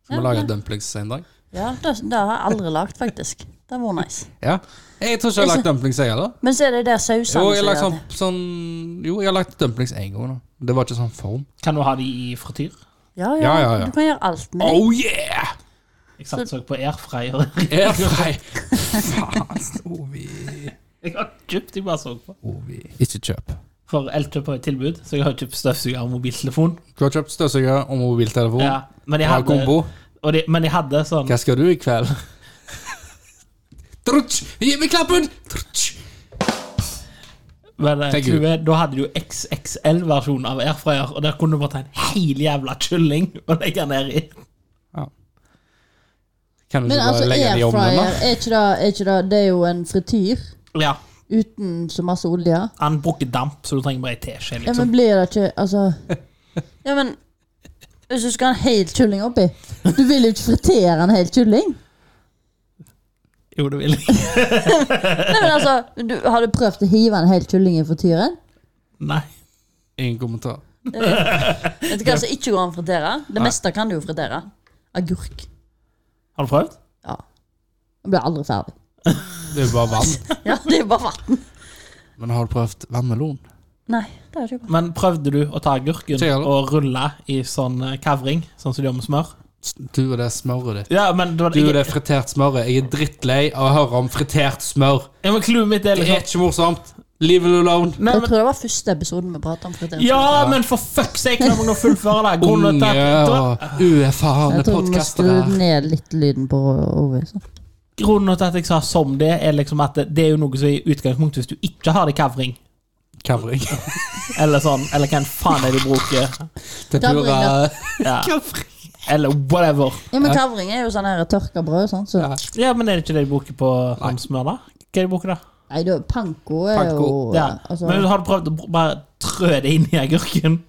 Speaker 1: Skal vi
Speaker 2: Ja,
Speaker 1: lage
Speaker 2: men-
Speaker 1: dumplings en dag?
Speaker 2: Ja, det, det har jeg aldri lagd, faktisk. Det var nice.
Speaker 1: Ja. Jeg tror ikke jeg har lagt dumplings, jeg heller.
Speaker 2: Men så er det der sausene
Speaker 1: Jo, jeg har
Speaker 2: som
Speaker 1: lagt,
Speaker 2: gjør
Speaker 1: sånn, sånn, jo, jeg har lagt dumplings én gang. Da. Det var ikke sånn form.
Speaker 3: Kan du ha de i frityr?
Speaker 2: det. Ja, ja,
Speaker 1: Ja, ja, ja.
Speaker 2: Du kan gjøre alt med det.
Speaker 1: Oh yeah!
Speaker 3: Jeg satt og så på airfryer.
Speaker 1: Air fry. Faen, Ovi.
Speaker 3: Jeg har kjøpt de bare så på.
Speaker 1: Ovi. Ikke kjøp.
Speaker 3: For Elkjøp har et tilbud, så jeg har kjøpt støvsuger og mobiltelefon.
Speaker 1: Du har kjøpt støvsuger og mobiltelefon.
Speaker 3: Ja, men, jeg
Speaker 1: Du har
Speaker 3: hadde,
Speaker 1: kombo.
Speaker 3: og de, men jeg hadde sånn
Speaker 1: Hva skal du i kveld? Trutsch! Gi meg klappen! Trutsch!
Speaker 3: men, eh,
Speaker 1: Tenk
Speaker 3: Tue, Da hadde du jo XXL-versjon av airfryer, og der kunne du bare ta en hel jævla kylling og legge den ned i.
Speaker 1: Kan du
Speaker 2: Men
Speaker 1: ikke bare
Speaker 2: altså,
Speaker 1: legge den i ovnen?
Speaker 2: airfryer,
Speaker 1: da?
Speaker 2: er ikke, det, er ikke det Det er jo en frityr
Speaker 3: Ja,
Speaker 2: uten så masse olje.
Speaker 3: Han bruker damp, så du trenger bare ei teskje.
Speaker 2: Ja,
Speaker 3: Liksom.
Speaker 2: men blir det ikke Altså Ja, men Hvis du skal ha en hel kylling oppi Du vil jo ikke fritere en hel kylling.
Speaker 3: Jo, det vil jeg.
Speaker 2: Nei, men altså, du, Har du prøvd å hive en hel kylling i frityren?
Speaker 3: Nei.
Speaker 1: Ingen kommentar.
Speaker 2: Vet du hva som ikke går an å fritere? Det meste kan du jo fritere. Agurk.
Speaker 3: Har du prøvd?
Speaker 2: Ja. Den blir aldri ferdig.
Speaker 1: Det er jo bare vann.
Speaker 2: Ja, det er jo bare vann.
Speaker 1: Men har du prøvd vannmelon?
Speaker 2: Nei, det er jo ikke bra.
Speaker 3: Men prøvde du å ta agurken
Speaker 1: Sier det.
Speaker 3: og rulle i sånn eh, kavring, sånn som du gjør med smør?
Speaker 1: Du og det smøret ditt.
Speaker 3: Ja, men, det var,
Speaker 1: Du og
Speaker 3: jeg,
Speaker 1: det fritert smøret. Jeg er drittlei av å høre om fritert smør.
Speaker 3: ja, men clouet mitt er
Speaker 1: Det er
Speaker 3: liksom
Speaker 1: ikke morsomt. Leave it alone.
Speaker 3: Nei,
Speaker 2: Jeg
Speaker 3: men,
Speaker 2: tror det var første episoden vi pratet om fritering.
Speaker 3: Ja, men for fuck's sake, la meg nå fullføre det! Grunnen til
Speaker 1: Unge
Speaker 3: at- da-
Speaker 1: og uerfarne
Speaker 2: Jeg tror vi må skru
Speaker 1: podkastere.
Speaker 2: ned litt lyden på Ove. så.
Speaker 3: Grunnen til at jeg sa som det, er liksom at det, det er jo noe som i utgangspunktet Hvis du ikke har det i kavring,
Speaker 1: Kavring.
Speaker 3: eller sånn, eller hva en faen er det du bruker,
Speaker 1: Det
Speaker 2: Da
Speaker 1: burde
Speaker 2: bringer-
Speaker 3: ja. eller whatever
Speaker 2: Ja, men kavring er jo sånn her tørka brød. Sånn, så.
Speaker 1: Ja.
Speaker 3: Ja, men er det ikke det de bruker på sånn smør, da? Hva er det de bruker da?
Speaker 2: Nei, da, panko er
Speaker 1: Panko.
Speaker 2: jo
Speaker 3: Ja.
Speaker 2: altså,
Speaker 3: Men har du prøvd å br- bare trø det inn i agurken?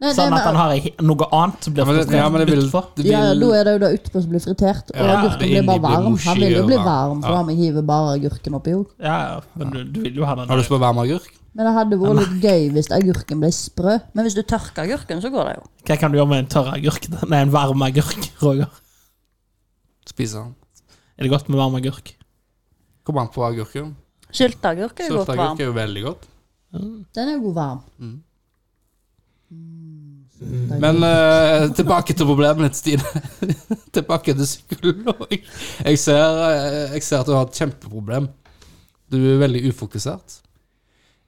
Speaker 2: Nei, det
Speaker 3: Sånn
Speaker 2: med-
Speaker 3: at han har ei- noe annet som
Speaker 1: Ja,
Speaker 3: blir
Speaker 1: men det, ja, men det vil,
Speaker 3: utenfor?
Speaker 1: det
Speaker 2: ja, da
Speaker 1: vil
Speaker 2: er det jo da utpå som blir fritert, og
Speaker 1: Ja,
Speaker 2: agurken
Speaker 1: det
Speaker 2: blir
Speaker 1: inni
Speaker 2: bare
Speaker 1: blir
Speaker 2: varm. Han vil jo
Speaker 1: mushy
Speaker 2: bli
Speaker 1: og-
Speaker 2: varm, for
Speaker 1: ja.
Speaker 2: da vi hiver bare agurken oppi òg.
Speaker 3: Ja, ja, men du, du vil jo ha den.
Speaker 1: Har du lyst på varmagurk?
Speaker 2: Men det hadde vært litt gøy hvis agurken ble sprø. Men hvis du tørker agurken, så går det jo.
Speaker 3: Hva kan du gjøre med en tørr agurk? da? Nei, en varm agurk, Roger.
Speaker 1: Spise den.
Speaker 3: Er det godt med varm agurk?
Speaker 1: Kommer an på agurken.
Speaker 2: Sylteagurk er jo godt varm.
Speaker 1: Sylteagurk er jo veldig godt.
Speaker 2: Den er jo god varm. Mm.
Speaker 1: Men eh, tilbake til problemet ditt, Stine. tilbake til psykolog. Jeg ser, eh, jeg ser at du har et kjempeproblem. Du er veldig ufokusert.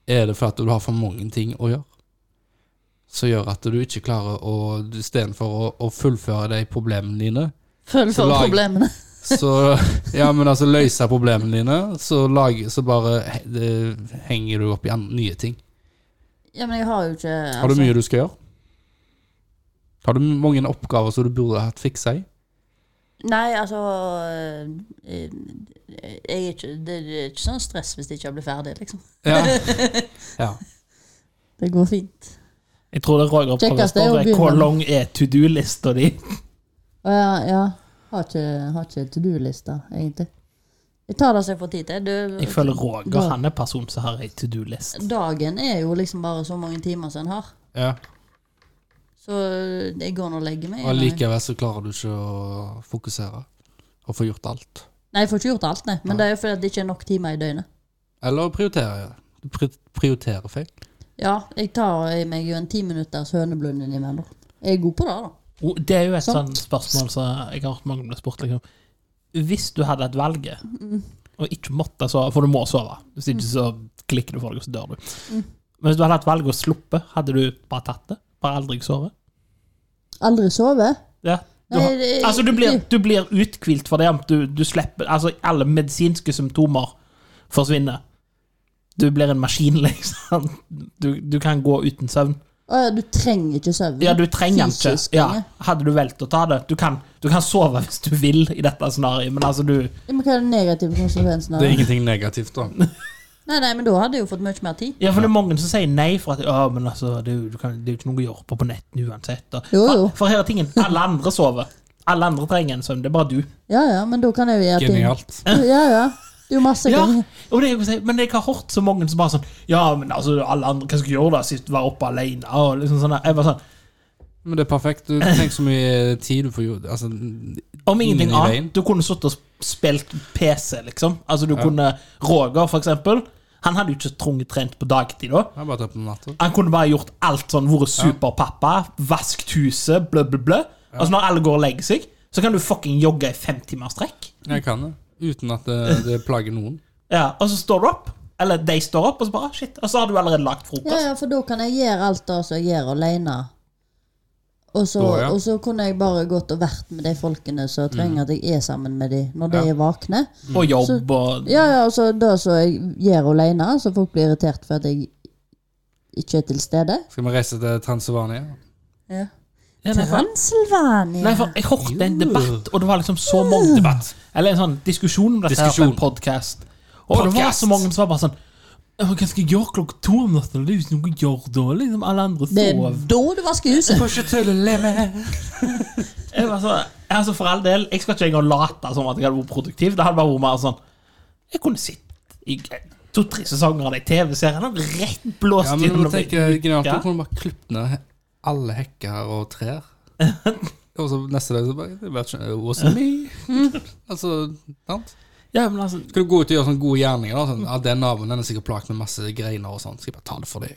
Speaker 1: Er det for at du har for mange ting å gjøre? Som gjør at du ikke klarer å du- Istedenfor å, å fullføre de problemene dine,
Speaker 2: Følg
Speaker 1: Så
Speaker 2: for
Speaker 1: lag-
Speaker 2: problemene.
Speaker 1: så Ja, men altså løse problemene dine, så, lag, så bare he- det, henger du opp i an, nye ting.
Speaker 2: Ja, men jeg har jo ikke
Speaker 1: Har du
Speaker 2: altså-
Speaker 1: mye du skal gjøre? Har du mange oppgaver som du burde hatt fiksa i?
Speaker 2: Nei, altså eh, jeg er ikke, Det er ikke sånn stress hvis det ikke blir ferdig, liksom.
Speaker 1: Ja. ja.
Speaker 2: Det går fint.
Speaker 3: Jeg tror det Roger prøver å
Speaker 2: Kjekkest er å
Speaker 3: spørre
Speaker 2: begynne.
Speaker 3: hvor lang er to do-lista di?
Speaker 2: Å ja, ja. Har ikke, har ikke to do-lista, egentlig. Jeg tar det som jeg får tid til. Du,
Speaker 3: Jeg føler Roger
Speaker 2: Da-
Speaker 3: han er person som har ei to do-list.
Speaker 2: Dagen er jo liksom bare så mange timer som en har.
Speaker 1: ja.
Speaker 2: Så eh, jeg går nå og legger meg.
Speaker 1: Og likevel så klarer du ikke å fokusere og få gjort alt.
Speaker 2: Nei, jeg får ikke gjort alt, nei. Men det er jo fordi at det ikke er nok timer i døgnet.
Speaker 1: Eller prioritere. Du pri- prioriterer feil.
Speaker 2: Ja, jeg tar i meg jo en ti minutters høneblund innimellom. Jeg er god på det, da.
Speaker 3: Oh, Det er jo et
Speaker 2: Sant.
Speaker 3: sånt spørsmål som jeg har hørt mange bli spurt. Liksom. Hvis du hadde hatt valget og ikke måtte sove, for du må sove Hvis
Speaker 2: Mm.
Speaker 3: ikke så klikker du for deg, og så dør du. Men hvis du hadde hatt valget og sluppet, hadde du bare tatt det? Bare aldri sovet?
Speaker 2: Aldri sove.
Speaker 3: Ja. Du,
Speaker 2: Nei,
Speaker 3: har-
Speaker 2: det-
Speaker 3: altså, du blir, du blir uthvilt for det om du, du slipper Altså, alle medisinske symptomer forsvinner. Du blir en maskin, liksom. Du, du kan gå uten søvn.
Speaker 2: Å ja, du trenger ikke søvn.
Speaker 3: Ja, du trenger den ikke.
Speaker 2: Fysisk
Speaker 3: Ja,
Speaker 2: trenger.
Speaker 3: hadde du valgt å ta det du kan, du kan sove hvis du vil i dette scenarioet, men altså, du
Speaker 2: Ja, Men hva er den negative konsekvensen av
Speaker 1: Det er
Speaker 2: det?
Speaker 1: ingenting negativt, da.
Speaker 2: Nei, nei, men da hadde jeg jo fått mye mer tid.
Speaker 3: Ja, for det er mange som sier nei, for at ja, men altså, det, er jo- du kan, det er jo ikke noe å gjøre på på nett uansett. Og,
Speaker 2: Jo, jo.
Speaker 3: For, for her er tingen, alle andre sover. Alle andre trenger en søvn, det er bare du.
Speaker 2: Ja ja, men da kan jeg jo gjøre ting.
Speaker 1: Genialt.
Speaker 2: Ja ja. Det er jo masse
Speaker 3: Ja,
Speaker 2: ganger.
Speaker 3: og det, er jo å si, Men jeg har hørt så mange som bare sånn Ja, men altså, alle andre, hva skal jeg gjøre da? Sist være oppe alene? Og liksom sånn, der. jeg bare sånn
Speaker 1: Men det er perfekt. Du trenger så mye tid du får gjort altså,
Speaker 3: Om
Speaker 1: Ingen
Speaker 3: ingenting
Speaker 1: i veien.
Speaker 3: annet. Du kunne sittet og spilt PC, liksom. Altså, du kunne Roger, for eksempel. Han hadde jo ikke trunget trent på dagtid da.
Speaker 1: Jeg har bare tatt på natta.
Speaker 3: Han kunne bare gjort alt sånn, vært superpappa, vaskt huset, blø, blø, blø. Altså, når alle går og legger seg, så kan du fucking jogge i fem timer strekk.
Speaker 1: Jeg kan det. Uten at det, det plager noen.
Speaker 3: Ja, og så står du opp. Eller de står opp, og så bare ah, shit. Og så har du allerede lagt frokost.
Speaker 2: Ja ja, for da kan jeg gjøre alt det som jeg gjør alene. Og så,
Speaker 1: Da, ja. Mm.
Speaker 2: og så kunne jeg bare gått og vært med de folkene som trenger at jeg er sammen med de når de er vakne.
Speaker 3: Og jobb og
Speaker 2: Ja ja, og Mm. så det som jeg gjør alene, så folk blir irritert for at jeg ikke er til stede.
Speaker 1: Skal vi reise til Transylvania?
Speaker 2: Ja.
Speaker 3: Ja, nei, for-
Speaker 2: Transylvania.
Speaker 3: Nei, for jeg hørte en debatt, og det var liksom så mange debatt. Eller en sånn diskusjon om dette her på en
Speaker 1: Diskusjon.
Speaker 3: podcast. Og det var
Speaker 1: Podcast.
Speaker 3: så mange som var bare sånn «Ja, men Hva skal jeg gjøre klokka to om natta? Det er jo ikke noe å gjøre da. Liksom, alle andre
Speaker 2: Det er
Speaker 3: sov.
Speaker 2: da du vasker huset.
Speaker 1: Push it to the limit.
Speaker 3: Jeg var så, altså for all del, jeg skal ikke engang late som at jeg hadde vært produktiv. Det hadde bare vært mer sånn Jeg kunne sittet i to-tre sesonger av de TV-seriene og rett blåst
Speaker 1: Ja, men du
Speaker 3: gjennom
Speaker 1: må tenke genialt.
Speaker 3: Ja.
Speaker 1: Du kunne bare klippe ned alle hekker og trær. Og så neste dag så bare det var ikke- It was me. Altså, sant?
Speaker 3: Ja, men altså,
Speaker 1: Skal du gå ut og gjøre sånne gode gjerninger? da sånn, ja, Den naboen den er sikkert plaget med masse greiner og sånn. Skal jeg bare ta det for deg?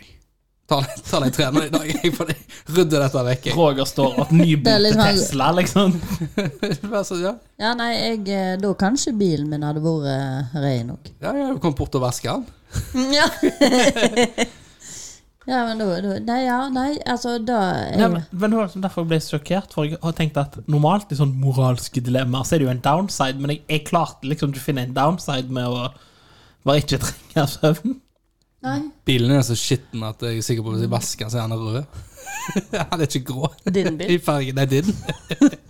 Speaker 1: Ta, det- ta de trærne i dag, jeg, for jeg rydder dette vekk. jeg.
Speaker 3: Roger står opp nybodd
Speaker 2: Det er litt sånn-
Speaker 3: Tesla, liksom.
Speaker 1: Vær så- Ja,
Speaker 2: Ja, nei, jeg, eh, da kanskje bilen min hadde vært eh, ren òg.
Speaker 1: ja, ja du kom bort og vasket den.
Speaker 2: Mm, Ja. ja, men da, da Nei, ja, nei, altså da jeg,
Speaker 3: Ja, men, men det var liksom derfor jeg ble så sjokkert. For jeg har tenkt at normalt i sånn moralske dilemmaer så er det jo en downside, men jeg, jeg klarte liksom ikke å finne en downside med å bare ikke trenge søvn.
Speaker 2: Nei,
Speaker 1: Bilen er så skitten at jeg er sikker på at hvis jeg vasker den, så er han rød. han er ikke grå.
Speaker 2: din
Speaker 1: I
Speaker 2: bil.
Speaker 1: fargen. Nei, din.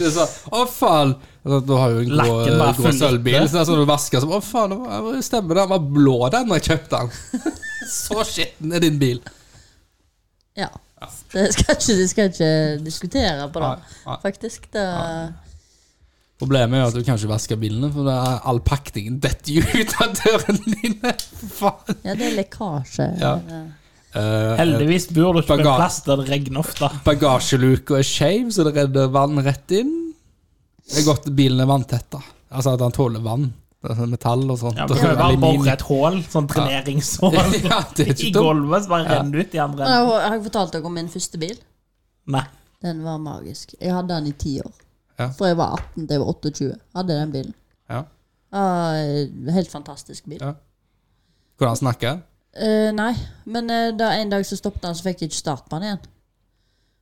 Speaker 1: Det er sånn Å, faen! Altså, da har jo en grå,
Speaker 3: Lakken bare
Speaker 1: grå
Speaker 3: fullt.
Speaker 1: sølvbil. Så det er sånn du vasker så Å, faen, det var- det stemmer det. Den var blå, den, da jeg kjøpte den. Så skitten er din bil.
Speaker 2: Ja. Det skal ikke, det skal ikke diskutere på det,
Speaker 1: Nei, nei.
Speaker 2: faktisk. Det,
Speaker 1: Problemet er jo at du kan ikke vaske bilene, for det er all pakningen detter jo ut av dørene dine. Faen.
Speaker 2: ja, det er lekkasje.
Speaker 1: Ja. Uh,
Speaker 3: Heldigvis bor du ikke på en
Speaker 1: Spagat.
Speaker 3: plass der det regner ofte.
Speaker 1: eh, Bagasjeluka er skeiv, så det redder vann rett inn. Det er godt bilen er vanntetta. Altså at han tåler vann. Det er sånn metall og sånt.
Speaker 3: Ja,
Speaker 1: og
Speaker 3: du kan jo bare
Speaker 1: aluminium.
Speaker 3: bore et hull, sånn dreneringshull,
Speaker 1: Ja, det er
Speaker 3: i
Speaker 1: ikke dumt.
Speaker 3: gulvet, så bare
Speaker 1: Ja.
Speaker 3: renner det ut i andre
Speaker 2: Jeg
Speaker 3: enden.
Speaker 2: har har jeg fortalt dere om min første bil.
Speaker 3: Nei.
Speaker 2: Den var magisk. Jeg hadde den i ti år.
Speaker 1: Ja.
Speaker 2: Fra jeg var 18 til jeg var 28. Hadde den bilen.
Speaker 1: Ja.
Speaker 2: Ah, helt fantastisk bil.
Speaker 1: Ja. Hvordan snakker jeg?
Speaker 2: Eh, nei, men eh, da en dag så stoppet han, så fikk jeg ikke start på han igjen.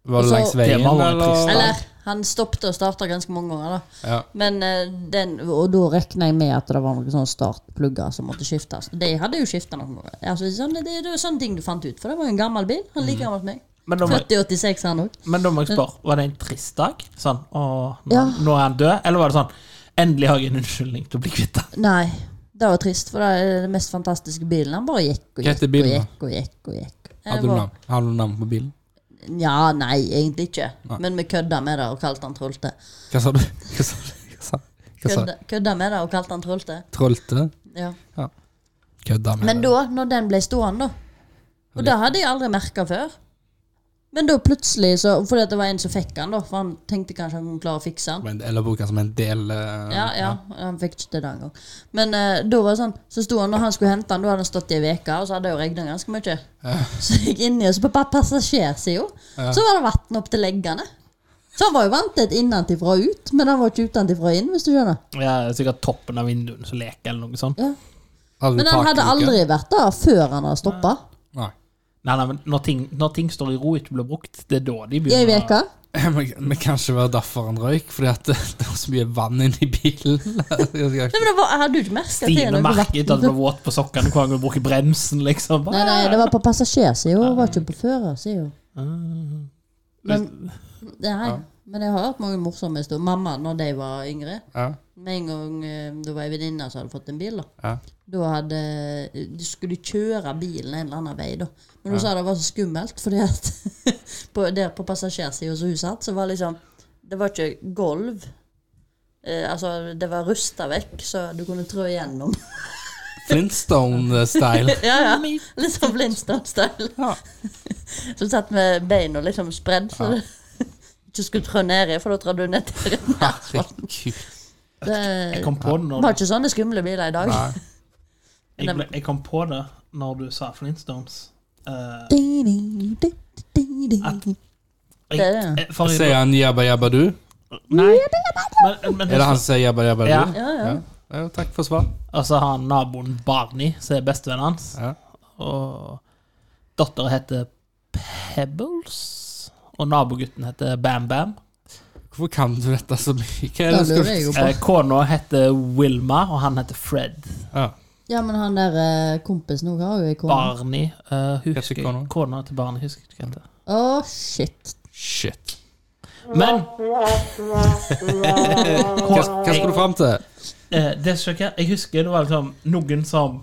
Speaker 1: Var det
Speaker 2: Altså,
Speaker 1: langs
Speaker 3: det
Speaker 1: veien,
Speaker 3: var bare trist,
Speaker 1: eller?
Speaker 3: da.
Speaker 2: Eller, han stoppet og starta ganske mange ganger, da.
Speaker 1: Ja.
Speaker 2: Men eh, den, og da regna jeg med at det var noen sånne startplugger som måtte skiftes. De hadde jo skifta noen ganger. Altså, sånn, det, det var sånne ting du fant ut, for det var jo en gammel bil. Han er
Speaker 1: Mhm.
Speaker 2: like gammel som meg.
Speaker 3: Men da, må,
Speaker 2: Født i 86, han òg.
Speaker 3: men da må jeg spørre, var det en trist dag? Sånn, å, nå,
Speaker 2: Mm. Ja.
Speaker 3: nå er han død? Eller var det sånn, endelig har jeg en unnskyldning til å bli kvitt han?
Speaker 2: Nei, det var trist, for det er den mest fantastiske bilen. Han bare
Speaker 1: Hva
Speaker 2: gikk og gikk
Speaker 1: heter
Speaker 2: og
Speaker 1: bilen, da?
Speaker 2: gikk og gikk. og gikk. Eh,
Speaker 1: Hadde du
Speaker 2: det var-
Speaker 1: navn, hadde du navn på bilen?
Speaker 2: Ja, nei, egentlig ikke. Men vi kødda med det og kalte han Trolte.
Speaker 1: Hva sa du? Hva sa du? Hva sa, hva sa? du?
Speaker 2: Kødda, kødda med det og kalte han Trolte.
Speaker 1: Trollte?
Speaker 2: Ja.
Speaker 1: Kødda med
Speaker 2: Men
Speaker 1: det.
Speaker 2: da, når den ble stående, da Og det hadde jeg aldri merka før. Men da plutselig, så, fordi at det var en som fikk han da, for han tenkte kanskje han kunne klare å fikse han.
Speaker 1: Men- Eller bruker den som en del eh,
Speaker 2: Ja, ja, han fikk ikke til det engang. Men eh, da var det sånn, så sto han, når han skulle hente han, da hadde han stått i ei uke, og så hadde det jo regna ganske mye. Så jeg gikk inni, og så på pa- passasjersida, så var det vann opp til leggene. Så han var jo vant til et innenfra og ut, men han var ikke utenfra og inn, hvis du skjønner.
Speaker 3: Ja, sikkert toppen av vinduene som leker eller noe sånt.
Speaker 2: Ja.
Speaker 1: Hadde du
Speaker 2: Men han hadde
Speaker 1: takluke?
Speaker 2: aldri vært der før han hadde stoppa.
Speaker 1: Nei.
Speaker 3: Nei, nei, men når ting, når ting står i ro og ikke blir brukt, det er da de
Speaker 2: I ei
Speaker 3: begynner.
Speaker 2: uke.
Speaker 1: Men kanskje det var derfor han røyk, fordi at det, det var så mye vann inni bilen.
Speaker 2: Nei, men det var, jeg hadde jo ikke merket at det er
Speaker 3: Stine
Speaker 2: noe
Speaker 3: merket at
Speaker 2: vann.
Speaker 3: du ble våt på sokkene hver gang du bruker bremsen, liksom.
Speaker 2: Nei, nei, det var på passasjersida, det var ikke på førersida.
Speaker 3: Ah,
Speaker 2: Men, nei, men jeg har hørt mange morsomme historier. Mamma, når de var yngre
Speaker 1: Ja,
Speaker 2: Med en gang eh, det var ei venninne som hadde fått en bil, da.
Speaker 1: ja.
Speaker 2: Da hadde, du skulle kjøre bilen en eller annen vei, da. Men hun sa det var så skummelt, fordi at på, der på passasjersida som hun satt, så var liksom Det var ikke gulv. Eh, altså, det var rusta vekk, så du kunne trå igjennom.
Speaker 1: Flintstone-style.
Speaker 2: ja, ja. Litt sånn Blindstone-style.
Speaker 1: Ja.
Speaker 2: Så du satt med beina liksom spredd, så du ikke skulle trå nedi, for da trår du ned til
Speaker 1: Herregud.
Speaker 2: Det
Speaker 3: Jeg kom på det
Speaker 2: var
Speaker 3: når du,
Speaker 2: ikke sånne skumle biler i dag.
Speaker 1: Nei.
Speaker 3: jeg, ble- jeg kom på det når du sa Flintstones. Eh, At-
Speaker 2: Det er det.
Speaker 3: eh, forrige-
Speaker 1: Sier han jabba jabba du?
Speaker 3: Nei. Men, men,
Speaker 1: Er det han som sier jabba jabba du?
Speaker 3: Ja.
Speaker 2: Ja, ja.
Speaker 1: Ja, jo, takk for svar.
Speaker 3: Og så har Altså, han naboen Barney, som er bestevennen hans.
Speaker 1: Ja.
Speaker 3: Og datteren heter Pebbles. Og nabogutten heter Bam Bam.
Speaker 1: Hvorfor kan du dette så mye? Hva er
Speaker 2: Da
Speaker 1: det
Speaker 2: lurer
Speaker 1: skal
Speaker 2: jeg jo på.
Speaker 3: Eh, Kona heter Wilma, og han heter Fred.
Speaker 1: ja.
Speaker 2: Ja, men han der eh, kompisen òg har jo ei kone.
Speaker 3: Barney eh,
Speaker 1: Heter
Speaker 3: husker
Speaker 1: kona? Mm.
Speaker 3: Kona til Barney husker jeg ikke hva det heter.
Speaker 2: Å, shit.
Speaker 1: Shit.
Speaker 3: Men
Speaker 1: Hva, hva skal du fram til?
Speaker 3: eh, det som skjer, jeg husker det var liksom noen som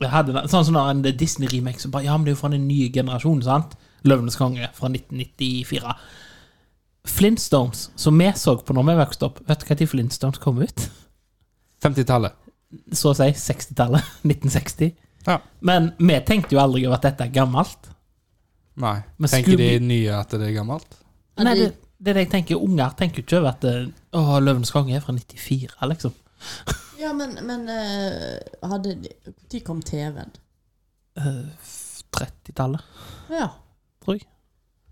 Speaker 3: hadde, Sånn som når en Disney-remake som bare Ja, men det er jo fra den nye generasjonen, sant? 'Løvenes konge' fra 1994. Flintstones, som vi så på når vi vokste opp Vet du når Flintstones kom ut?
Speaker 1: 50-tallet.
Speaker 3: Så å si 60-tallet. 1960.
Speaker 1: Ja.
Speaker 3: Men vi tenkte jo aldri over at dette er gammelt.
Speaker 1: Nei.
Speaker 3: Men
Speaker 1: Tenker de
Speaker 3: skulle-
Speaker 1: nye at det er gammelt?
Speaker 2: Ja,
Speaker 3: Nei,
Speaker 2: de-
Speaker 3: det, det er det jeg tenker. Unger tenker jo ikke over at eh, Å, 'Løvenes konge' er fra 94, liksom.
Speaker 2: Ja, men, men eh, hadde de Når kom TV-en?
Speaker 3: Eh, 30-tallet,
Speaker 2: Ja.
Speaker 3: tror jeg.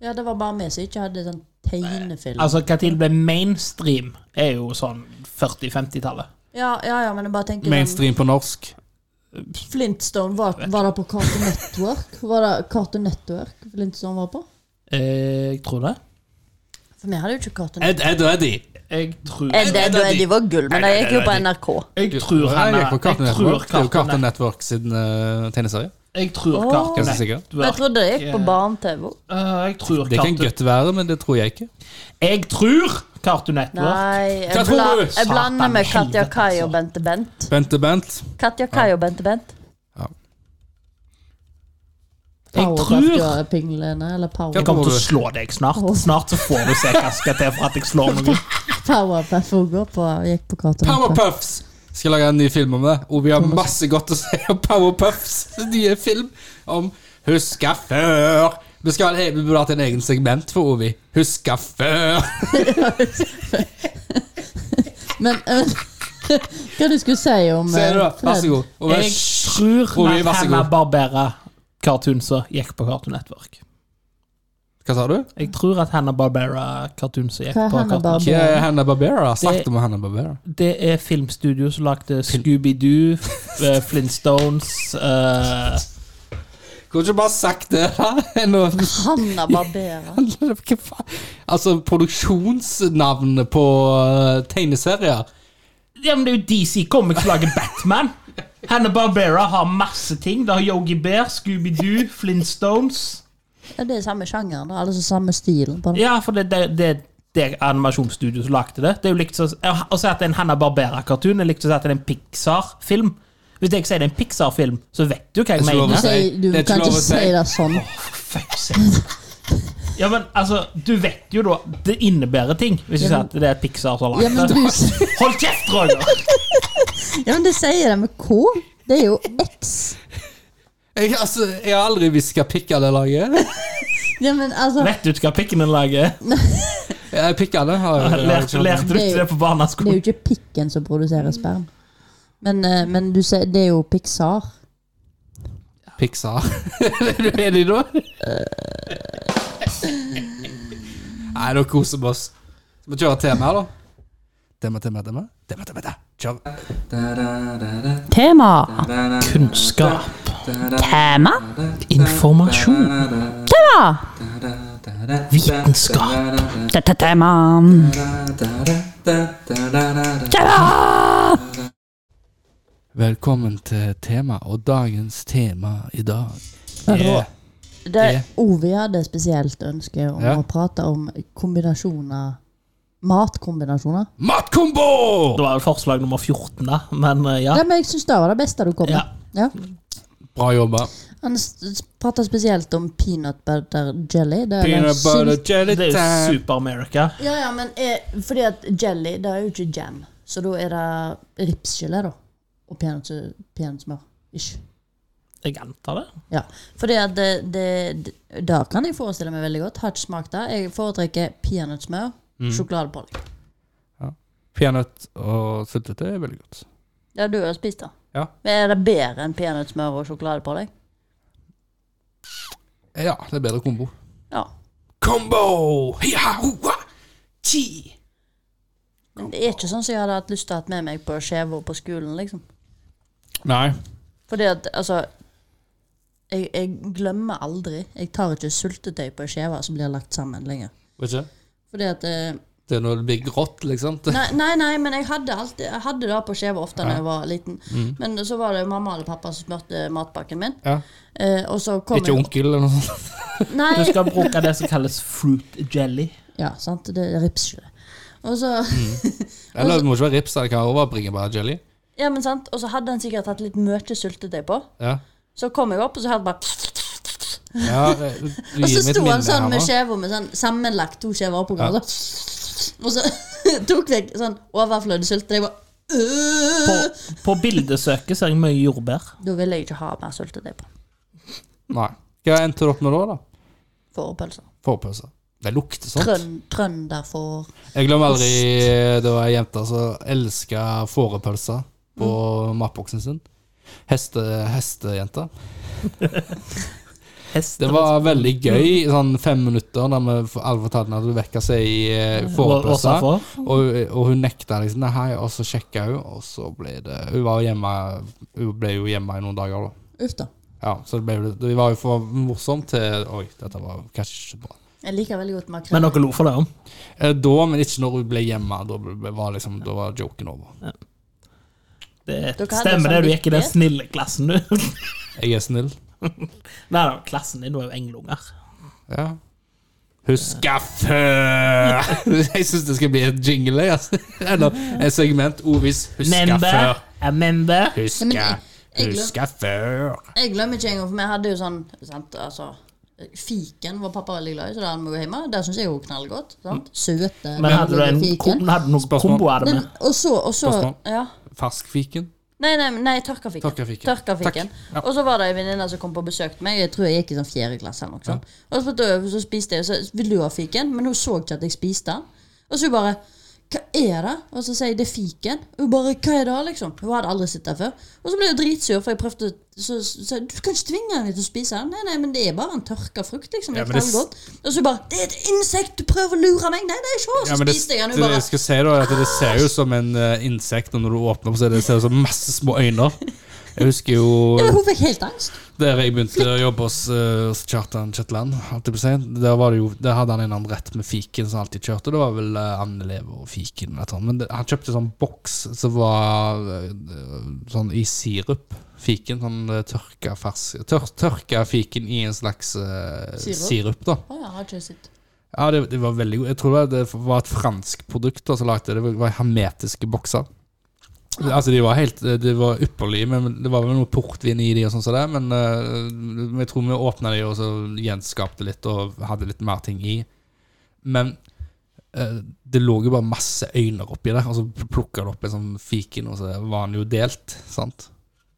Speaker 2: ja, det var bare vi som ikke hadde sånn tegnefilm.
Speaker 3: Altså, hva tid det ble mainstream, er jo sånn 40-50-tallet.
Speaker 2: ja, ja, ja, men jeg bare tenker sånn,
Speaker 1: Mainstream på norsk.
Speaker 2: Flintstone, var, var det på Cartoon Network? Var det Cartoon Network Flintstone var på?
Speaker 3: Eh, jeg tror det.
Speaker 2: For vi hadde jo ikke Cartoon Network.
Speaker 1: Ed, Ed og Eddie.
Speaker 3: Jeg tror
Speaker 2: Ed, Ed og Eddie var gull, men de gikk jo på NRK.
Speaker 3: Jeg tror han
Speaker 1: Jeg
Speaker 3: er
Speaker 1: gikk på Cartoon
Speaker 3: jeg tror
Speaker 1: Network. Det er jo Cartoon
Speaker 3: Cartoon-
Speaker 1: Network sin eh, tegneserie.
Speaker 3: Jeg tror
Speaker 2: Åh.
Speaker 3: Cartoon
Speaker 1: Ganske sikkert.
Speaker 2: Men jeg
Speaker 3: Network
Speaker 2: trodde det gikk på
Speaker 3: eh,
Speaker 2: barne-TV.
Speaker 3: eh, Jeg tror
Speaker 1: Det kan
Speaker 3: Cartoon
Speaker 1: godt være, men det tror jeg ikke.
Speaker 3: Jeg tror Cartoon Network.
Speaker 2: Nei,
Speaker 1: Hva
Speaker 2: jeg,
Speaker 1: tror
Speaker 2: bla,
Speaker 1: du?
Speaker 2: jeg blander med
Speaker 3: Satan,
Speaker 2: Katja
Speaker 3: helvete,
Speaker 2: Kai
Speaker 3: altså.
Speaker 2: og Bente Bent.
Speaker 1: Bente Bent.
Speaker 2: Katja Kai og Bente Bent.
Speaker 3: Jeg tror
Speaker 2: Powerpuff-pinglene, eller Power-
Speaker 1: Hva
Speaker 3: jeg kommer til å slå deg snart. Snart så får du se hva skal til for at jeg slår noen.
Speaker 2: Powerpuff hun går på, gikk på Cartoon Network.
Speaker 1: Powerpuffs! Skal lage en ny film om det. Og vi har masse godt å si om Powerpuffs nye film om Huska før. Vi, skal, ha- vi burde hatt en egen segment for Ovi. Huska før!
Speaker 2: Men eh, hva du skulle si om
Speaker 1: Ser du, da.
Speaker 2: eh, Fred?
Speaker 1: Vær så god. Ovi,
Speaker 3: Jeg tror
Speaker 1: Ovi,
Speaker 3: at
Speaker 1: vær så
Speaker 3: Hanna
Speaker 1: god.
Speaker 3: Barbera Cartoon som gikk på Cartoon Network.
Speaker 1: Hva sa du?
Speaker 3: Jeg tror at Hanna Barbera Cartoon som gikk
Speaker 2: Hva er
Speaker 3: på
Speaker 2: Hanna-Barbera?
Speaker 3: Cartoon
Speaker 1: Ikke Hanna Barbera. Snakket
Speaker 3: Det-
Speaker 1: om Hanna Barbera.
Speaker 3: Det er filmstudio som lagde Scooby-Doo, eh, Flintstones eh,
Speaker 1: Kunne ikke bare sagt det? da? Nå-
Speaker 2: Hanna Barbera.
Speaker 1: Hva faen? Altså, produksjonsnavnet på eh, tegneserier.
Speaker 3: Ja, men det er jo DC Comics som lager Batman. Hanna Barbera har masse ting. Det har Yogi Bear, Scooby-Doo, Flintstones.
Speaker 2: Ja, det er samme sjangeren, da, altså samme stilen på det.
Speaker 3: Ja, for det det- det- det er animasjonsstudio som lagde det. Det er jo likt som- Å si at det er en Hanna Barbera-cartoon er likt som å si at det er en Pixar-film. Hvis jeg sier det er en Pixar-film, så vet du hva jeg
Speaker 1: Det er ikke lov å
Speaker 2: Du,
Speaker 3: mener.
Speaker 1: si.
Speaker 2: sier, du
Speaker 1: Det er ikke
Speaker 2: kan
Speaker 1: lov
Speaker 2: ikke
Speaker 1: å si.
Speaker 2: si det sånn.
Speaker 3: Fuck sake. Ja, men altså, du vet jo da Det innebærer ting, hvis du
Speaker 2: Ja,
Speaker 3: sier
Speaker 2: men-
Speaker 3: at det er Pixar som har
Speaker 2: Ja, men
Speaker 3: lagd det.
Speaker 2: du s-
Speaker 3: Hold kjeft, Roger!
Speaker 2: ja, men du sier det med K. Det er jo X.
Speaker 1: Jeg, altså, jeg har aldri visst hva pikkene lager.
Speaker 2: Ja, men altså
Speaker 3: Vet du ikke hva pikken din lager?
Speaker 1: Eh, Pikkene har jeg- har jeg
Speaker 3: Lærte,
Speaker 1: ikke hørt om.
Speaker 3: lærte du ikke det på
Speaker 2: Det er
Speaker 3: barneskolen?
Speaker 2: jo ikke pikken som produserer sperm. Men, eh, men du sier, det er jo Pixar.
Speaker 1: Pixar. er du enig nå? Nei, nå koser vi oss. Skal vi kjøre tema her, da? Tema, tema, tema. tema, tema, tema. Kjør.
Speaker 2: Tema.
Speaker 3: Kunnskap.
Speaker 2: Tema.
Speaker 3: Informasjon.
Speaker 2: Tema.
Speaker 3: Vitenskap.
Speaker 2: Tema.
Speaker 1: Velkommen til tema, og dagens tema i dag
Speaker 3: Rå.
Speaker 2: Det
Speaker 1: Ja.
Speaker 2: Ovi hadde spesielt ønske om
Speaker 1: Ja.
Speaker 2: å prate om kombinasjoner Matkombinasjoner.
Speaker 1: Matkombo!
Speaker 3: Det var jo forslag nummer 14, da, men eh, ja.
Speaker 2: Ja, men jeg syns det var det beste du kom med. Ja.
Speaker 1: Bra jobba.
Speaker 2: Han s- prata spesielt om peanut butter jelly. Det er den
Speaker 1: Peanut butter
Speaker 2: sylt-
Speaker 1: jelly
Speaker 3: Det er eh, jo
Speaker 1: time.
Speaker 3: Super-America.
Speaker 2: Ja, ja, men eh, fordi at jelly, det er jo ikke jam. Så da er det ripsgelé, da. Og peanøttsmør. Peanøttsmør. Ish.
Speaker 3: Jeg antar det.
Speaker 2: Ja. Fordi at det, det, det, det kan jeg forestille meg veldig godt. Har ikke smakt det. Jeg foretrekker peanøttsmør, sjokoladepålegg.
Speaker 1: Peanøtt og syltetøy er veldig godt.
Speaker 2: Ja, du har spist det.
Speaker 1: Ja.
Speaker 2: Men Er det bedre enn peanøttsmør og sjokoladepålegg?
Speaker 1: Ja, det er bedre kombo.
Speaker 2: Ja.
Speaker 1: Kombo! Hi-ha-hoa-chi!
Speaker 2: Men det er ikke sånn som jeg hadde hatt lyst til å ha med meg på skjeva på skolen, liksom.
Speaker 1: Nei.
Speaker 2: Fordi at, altså jeg, jeg glemmer aldri. Jeg tar ikke syltetøy på skjeva som blir lagt sammen lenger.
Speaker 1: Vet ikke.
Speaker 2: Fordi at eh,
Speaker 1: Det er når det blir grått, liksom. Det-
Speaker 2: nei, nei, nei, men jeg hadde, alltid, jeg hadde det på skjeva ofte da jeg var liten.
Speaker 1: Mm.
Speaker 2: Men så var det jo mamma eller pappa som smurte matpakken min.
Speaker 1: Ja.
Speaker 2: Eh, og så kom
Speaker 1: Ikke onkel eller noe sånt.
Speaker 2: jeg Nei,
Speaker 3: Du skal bruke det som kalles fruit jelly.
Speaker 2: Ja, sant. Det er ripsgelé. Og så
Speaker 1: Mm. Eller det må ikke være rips eller hva over bringebærjelly.
Speaker 2: Ja, men sant. Og så hadde han sikkert hatt litt mye syltetøy på.
Speaker 1: Ja.
Speaker 2: Så kom jeg opp, og så hørte jeg bare
Speaker 1: Ja, eh, du gir
Speaker 2: Og så
Speaker 1: meg et
Speaker 2: sto
Speaker 1: minne
Speaker 2: han sånn
Speaker 1: her
Speaker 2: med
Speaker 1: nå.
Speaker 2: skjeva med sånn sammenlagt to skjever oppå hverandre. Og så tok vekk sånn overflødig syltetøy. Jeg bare
Speaker 3: På,
Speaker 2: øh!
Speaker 3: på bildesøket ser jeg mye jordbær.
Speaker 2: Da vil jeg ikke ha mer syltetøy på.
Speaker 1: Nei. Hva endte du opp med da? da?
Speaker 2: Fårepølser.
Speaker 1: Forpølse. Det lukter sånt.
Speaker 2: Trøn, Trønderfår.
Speaker 1: Jeg glemmer aldri det var ei jente som elska fårepølse på matboksen sin. Heste, hestejenta.
Speaker 3: Hest.
Speaker 1: Det var veldig gøy, sånn fem minutter der vi for alvor tatt henne til å vekke seg i eh, fårepølse.
Speaker 3: Åsa får.
Speaker 1: Og, og hun nekta liksom det her, og så sjekka hun, og så ble det Hun var jo hjemme Hun ble jo hjemme i noen dager, da.
Speaker 2: Uff da.
Speaker 1: Ja, så det ble jo Det var jo for morsomt til Oi, dette var kanskje ikke bra.
Speaker 2: Jeg liker veldig godt
Speaker 3: Men
Speaker 2: makrell.
Speaker 3: dere lo for det om.
Speaker 1: Eh, Da, men ikke når hun ble hjemme. Da ble- var liksom Da var joken over.
Speaker 3: Det
Speaker 2: Dere hadde
Speaker 3: stemmer det, du gikk i den
Speaker 2: samvittighet.
Speaker 3: snille klassen, du.
Speaker 1: Jeg er snill.
Speaker 3: Nei, da, klassen din var jo englunger.
Speaker 1: Ja. Huska før! Jeg syns det skal bli et jingle. jeg, Altså. Eller et segment. Ovis huska
Speaker 3: Member,
Speaker 1: før.
Speaker 3: member.
Speaker 2: men
Speaker 1: Huska,
Speaker 2: jeg- jeg glem-
Speaker 1: huska før.
Speaker 2: Jeg glemmer ikke engang, for vi hadde jo sånn sant, altså, Fiken var pappa veldig glad i, så det hadde vi jo hjemme. Det syns jeg jo knallgodt. sant? Søte,
Speaker 3: Mm. Men hadde du en kom, hadde du noen
Speaker 1: Spørsmål.
Speaker 3: komboer
Speaker 2: Den,
Speaker 3: med?
Speaker 2: og så, og så
Speaker 1: Spørsmål?
Speaker 2: ja.
Speaker 1: Ferskfiken.
Speaker 2: Nei, nei, nei tørka fiken.
Speaker 1: Tørka fiken.
Speaker 2: Tørka
Speaker 1: Takk.
Speaker 2: fiken.
Speaker 1: Ja.
Speaker 2: Og så var det ei venninne som kom på besøk til meg. Jeg tror jeg gikk i sånn fjerde klasse. eller noe sånt. Og så, spurte hun, så spiste jeg, og så ville hun ha fiken, men hun så ikke at jeg spiste den. Og så hun bare Hva er det? Og så sier jeg det er fiken. Og hun bare Hva er det? liksom? Hun hadde aldri sett det før. Og så ble hun dritsur, for jeg prøvde så, så, så, Du kan ikke tvinge henne til å spise den. Nei, nei, men det er bare en tørka frukt, liksom.
Speaker 1: Ja,
Speaker 2: Det er
Speaker 1: men det-
Speaker 2: knallgodt. Og så hun bare Det er et insekt! Du prøver å lure meg! Nei, nei, se! Og
Speaker 1: Ja,
Speaker 2: så
Speaker 1: men det,
Speaker 2: spiste jeg den.
Speaker 1: det
Speaker 2: Hun bare
Speaker 1: jeg skal si da, er at det ser jo ut som en eh, insekt, og når du åpner opp, så er det, ser det ut som masse små øyne. Jeg husker jo
Speaker 2: Ja, men Hun fikk helt angst.
Speaker 1: der jeg begynte å jobbe hos eh, hos Kjartan Kjetland. holdt jeg på å si. Der, var det jo, der hadde han en annen rett med fiken som alltid kjørte. Det var vel eh, andelever og fiken. eller et sånt. Men det, han kjøpte sånn boks som var eh, sånn i sirup. Fiken. Sånn eh, tørka, fersk, tør, tørka fiken i en slags eh, sirup.
Speaker 2: Sirup?
Speaker 1: da.
Speaker 2: Å ja, har ikke sett.
Speaker 1: Ja, det, det var veldig god. Jeg tror det var- det var et fransk produkt da, som lagde det. Det var hermetiske bokser. Altså, de var helt De var ypperlige, men det var vel noe portvin i de og sånn som det. Men eh, jeg tror vi åpna de og så gjenskapte litt og hadde litt mer ting i. Men eh, det lå jo bare masse øyne oppi der, og så plukka det opp en sånn fiken, og så var den jo delt. sant?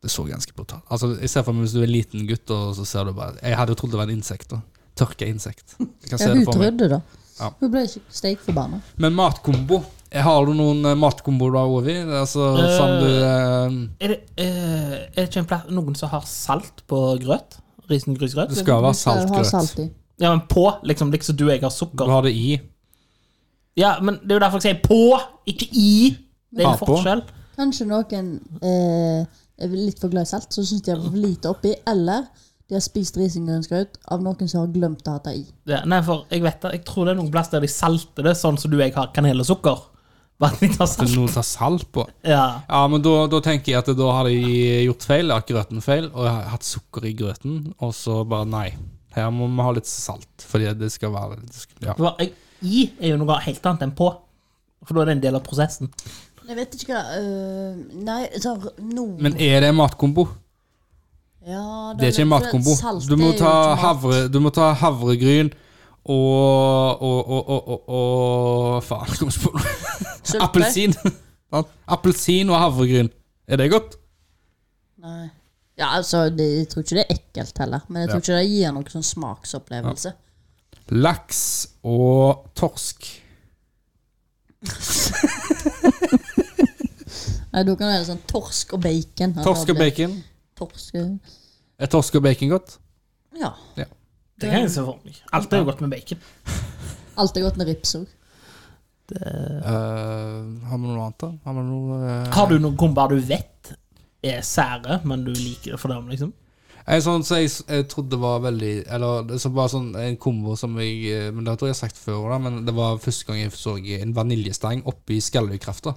Speaker 1: Det så ganske brutalt. Altså, jeg ser for meg Hvis du er en liten gutt, og så ser du bare Jeg hadde jo trodd det var en insekt. da. Tørka insekt. Jeg kan
Speaker 2: Ja,
Speaker 1: se
Speaker 2: hun
Speaker 1: det for meg.
Speaker 2: trodde det.
Speaker 1: Ja.
Speaker 2: Hun ble ikke steikforbanna.
Speaker 1: Men matkombo. Har du noen eh, matkombo da, Ovi? Altså,
Speaker 3: Eh.
Speaker 1: som du eh,
Speaker 3: Er det, eh, er det ikke en plass, noen som har salt på grøt? Risengrynsgrøt?
Speaker 1: Det skal være
Speaker 2: Skal jo ha
Speaker 1: saltgrøt.
Speaker 2: salt i.
Speaker 3: Ja, men på, liksom, liksom du og jeg har
Speaker 1: Du
Speaker 3: sukker.
Speaker 1: har det i.
Speaker 3: Ja, men det er jo derfor jeg sier på, ikke i. Det er
Speaker 1: Ha
Speaker 3: en
Speaker 1: på.
Speaker 3: forskjell.
Speaker 2: Kanskje noen eh, er litt for glad i salt, så syns de har for lite oppi. Eller De har spist risengrynsgrøt av noen som har glemt å ha det i.
Speaker 3: Ja, nei, for jeg vet det. Jeg tror det er noen plass der de salter det, sånn som du og jeg har kanel og sukker. Bare at de
Speaker 1: Det er
Speaker 3: tar salt.
Speaker 1: noe å ta salt på.
Speaker 3: Ja.
Speaker 1: Ja, men da, da tenker jeg at da har de gjort feil, lagt grøten feil, og hatt sukker i grøten, og så bare nei. Her må vi ha litt salt, fordi det skal være det skal, ja.
Speaker 3: For jeg, I er jo noe helt annet enn på. For da er det en del av prosessen.
Speaker 2: Jeg vet ikke hva øh, Nei, så nå
Speaker 1: Men er det en matkombo?
Speaker 2: ja,
Speaker 1: Det er ikke en matkombo. Du må ta, havre, du må ta havregryn og og, og, og, og, og Faen, jeg kom ikke på noe. Appelsin. Sant? Appelsin og havregryn. Er det godt?
Speaker 2: Nei. Ja, altså, det, jeg tror ikke det er ekkelt heller, men jeg tror ikke det gir noen sånn smaksopplevelse.
Speaker 1: Laks og torsk.
Speaker 2: Nei, da kan det være sånn torsk og bacon. Altså,
Speaker 1: Torsk og
Speaker 2: det-
Speaker 1: bacon.
Speaker 2: Torsk og-
Speaker 1: Er torsk og bacon godt?
Speaker 2: Ja.
Speaker 3: Det kan jeg se for meg. Alt er jo godt med bacon.
Speaker 2: Alt er godt med rips òg.
Speaker 1: Eh, har vi noe annet, da? Har vi noe eh,
Speaker 3: Har du noen kombaer du vet er sære, men du liker det for dem, liksom?
Speaker 1: En sånn som jeg, s- jeg trodde var veldig Eller det som var sånn en kombo som jeg eh, Men Det tror jeg jeg har sagt før, da men det var første gang jeg så en vaniljestang oppi skalldykrafta.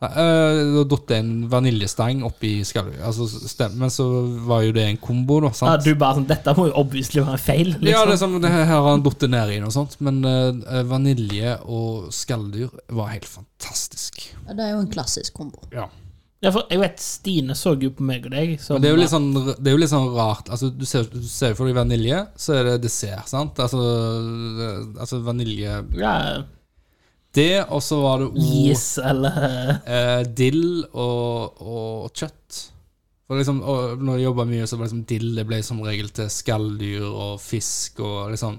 Speaker 1: Da uh, datt en vaniljestang oppi skalldyr... Altså, stem- men så var jo det en kombo, da.
Speaker 3: Ja,
Speaker 1: sant?
Speaker 3: du bare sånn, Dette må jo obviously være en feil. Liksom.
Speaker 1: Ja, det er som det her har han datt ned i noe sånt, men eh, vanilje og skalldyr var helt fantastisk.
Speaker 2: Ja, det er jo en klassisk kombo.
Speaker 1: Ja.
Speaker 3: Ja, for jeg vet Stine så jo på meg og deg. Så
Speaker 1: Men det er jo litt sånn, det er jo litt sånn rart. Altså, du ser du ser jo for deg vanilje, så er det dessert. sant? Altså, det- altså vanilje
Speaker 3: ja,
Speaker 1: Det, og så var det o,
Speaker 3: Is eller
Speaker 1: eh, dill og, og kjøtt. For liksom, og når jeg jobba mye, så var liksom dill det ble som regel til skalldyr og fisk og liksom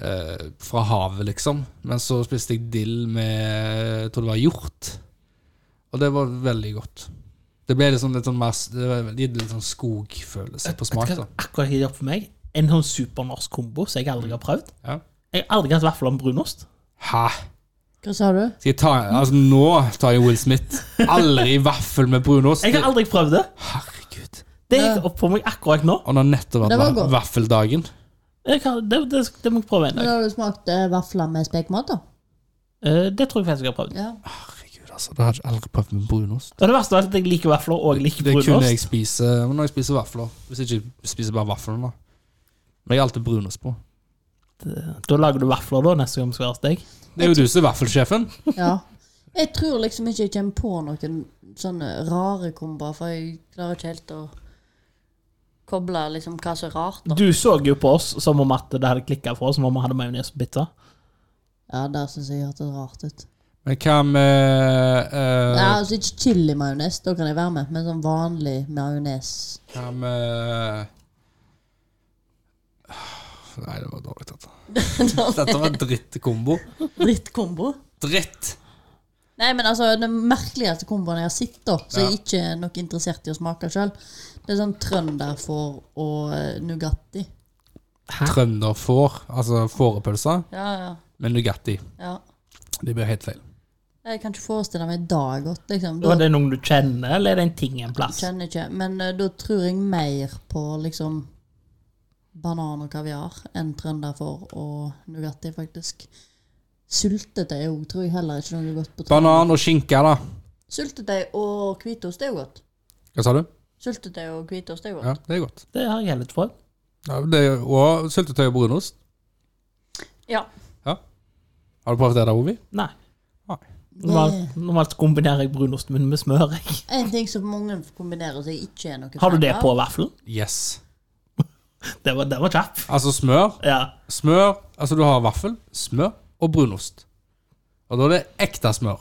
Speaker 1: eh, Fra havet, liksom. Men så spiste jeg dill med jeg tror det var hjort. Og det var veldig godt. Det ble liksom litt sånn mer det var litt litt sånn skogfølelse på smak.
Speaker 3: Vet du
Speaker 1: da.
Speaker 3: hva akkurat gikk opp for meg? En sånn supernorsk kombo som jeg aldri har prøvd.
Speaker 1: Ja.
Speaker 3: Jeg har aldri hatt vaffel om brunost.
Speaker 1: Hæ?
Speaker 2: Hva sa du?
Speaker 1: Skal jeg ta, altså Nå tar jeg Will Smith. Aldri vaffel med brunost.
Speaker 3: Jeg har aldri prøvd det.
Speaker 1: Herregud.
Speaker 3: Det gikk opp for meg akkurat nå.
Speaker 1: Og det har nettopp
Speaker 2: Det var
Speaker 1: vært
Speaker 2: godt.
Speaker 1: vaffeldagen.
Speaker 3: Jeg har, det, det, det må jeg prøve en
Speaker 2: Men
Speaker 3: dag.
Speaker 2: har du smakt eh, vafler med spekemat, da?
Speaker 3: Eh, Det tror jeg faktisk jeg har prøvd.
Speaker 2: Ja.
Speaker 1: Herregud, altså. Det hadde jeg aldri prøvd med brunost.
Speaker 3: Og det verste var at jeg liker vafler og jeg liker
Speaker 1: Det kunne jeg
Speaker 3: brunost.
Speaker 1: spise men når jeg spiser vafler. Hvis jeg ikke spiser bare vaflene, da. Men jeg har alltid brunost på.
Speaker 3: Da lager du vafler da neste gang vi skal være hos deg.
Speaker 1: Det er jo du som er vaffelsjefen.
Speaker 2: ja. Jeg tror liksom ikke jeg kommer på noen sånne rare komboer, for jeg klarer ikke helt å koble liksom hva som er rart. da.
Speaker 3: Du så jo på oss som om at det hadde klikka for oss, som om vi hadde majones på pizza.
Speaker 2: Ja, der syns jeg hørtes rart ut.
Speaker 1: Men hva med, eh,
Speaker 2: Ja, altså Ikke chili-majones, da kan jeg være med, men sånn vanlig majones.
Speaker 1: Hva med Nei, det var dårlig, dette. Dette var drittkombo.
Speaker 2: Drittkombo.
Speaker 1: Dritt!
Speaker 2: Nei, men altså, den merkeligste komboen jeg har sett, da,
Speaker 1: Ja.
Speaker 2: som jeg ikke er nok interessert i å smake sjøl, det er sånn trønderfår og eh, Nugatti.
Speaker 1: Trønderfår, altså fårepølse,
Speaker 2: Ja, ja,
Speaker 1: med Nugatti.
Speaker 2: ja.
Speaker 1: Det blir helt feil.
Speaker 2: Jeg kan ikke forestille meg det godt, liksom. Da
Speaker 3: Var det noen du kjenner, eller er det en ting en plass?
Speaker 2: kjenner jeg ikke. Men eh, da tror jeg mer på liksom banan og kaviar enn trønderfår og Nugatti, faktisk. Sultetøy òg tror jeg heller ikke noe godt på. trønder.
Speaker 1: Banan og skinke, da.
Speaker 2: Sultetøy og hvitost er jo godt.
Speaker 1: Hva sa du?
Speaker 2: Sultetøy og hvitost er jo godt.
Speaker 1: Ja, det er godt.
Speaker 3: Det har jeg heller prøvd.
Speaker 1: Ja, det er, og syltetøy og brunost.
Speaker 2: Ja.
Speaker 1: Har du prøvd det der, Ovi?
Speaker 3: Nei.
Speaker 2: Det
Speaker 3: Normalt, normalt kombinerer jeg brunosten min med smør. Jeg.
Speaker 2: er en ting som mange kombinerer som jeg ikke er noe
Speaker 3: Har du
Speaker 2: fan
Speaker 3: det
Speaker 2: av.
Speaker 3: på vaffelen?
Speaker 1: Yes.
Speaker 3: Det var, det var kjapp.
Speaker 1: Altså smør,
Speaker 3: Ja.
Speaker 1: smør Altså du har vaffel, smør og brunost. Og da er det ekte smør.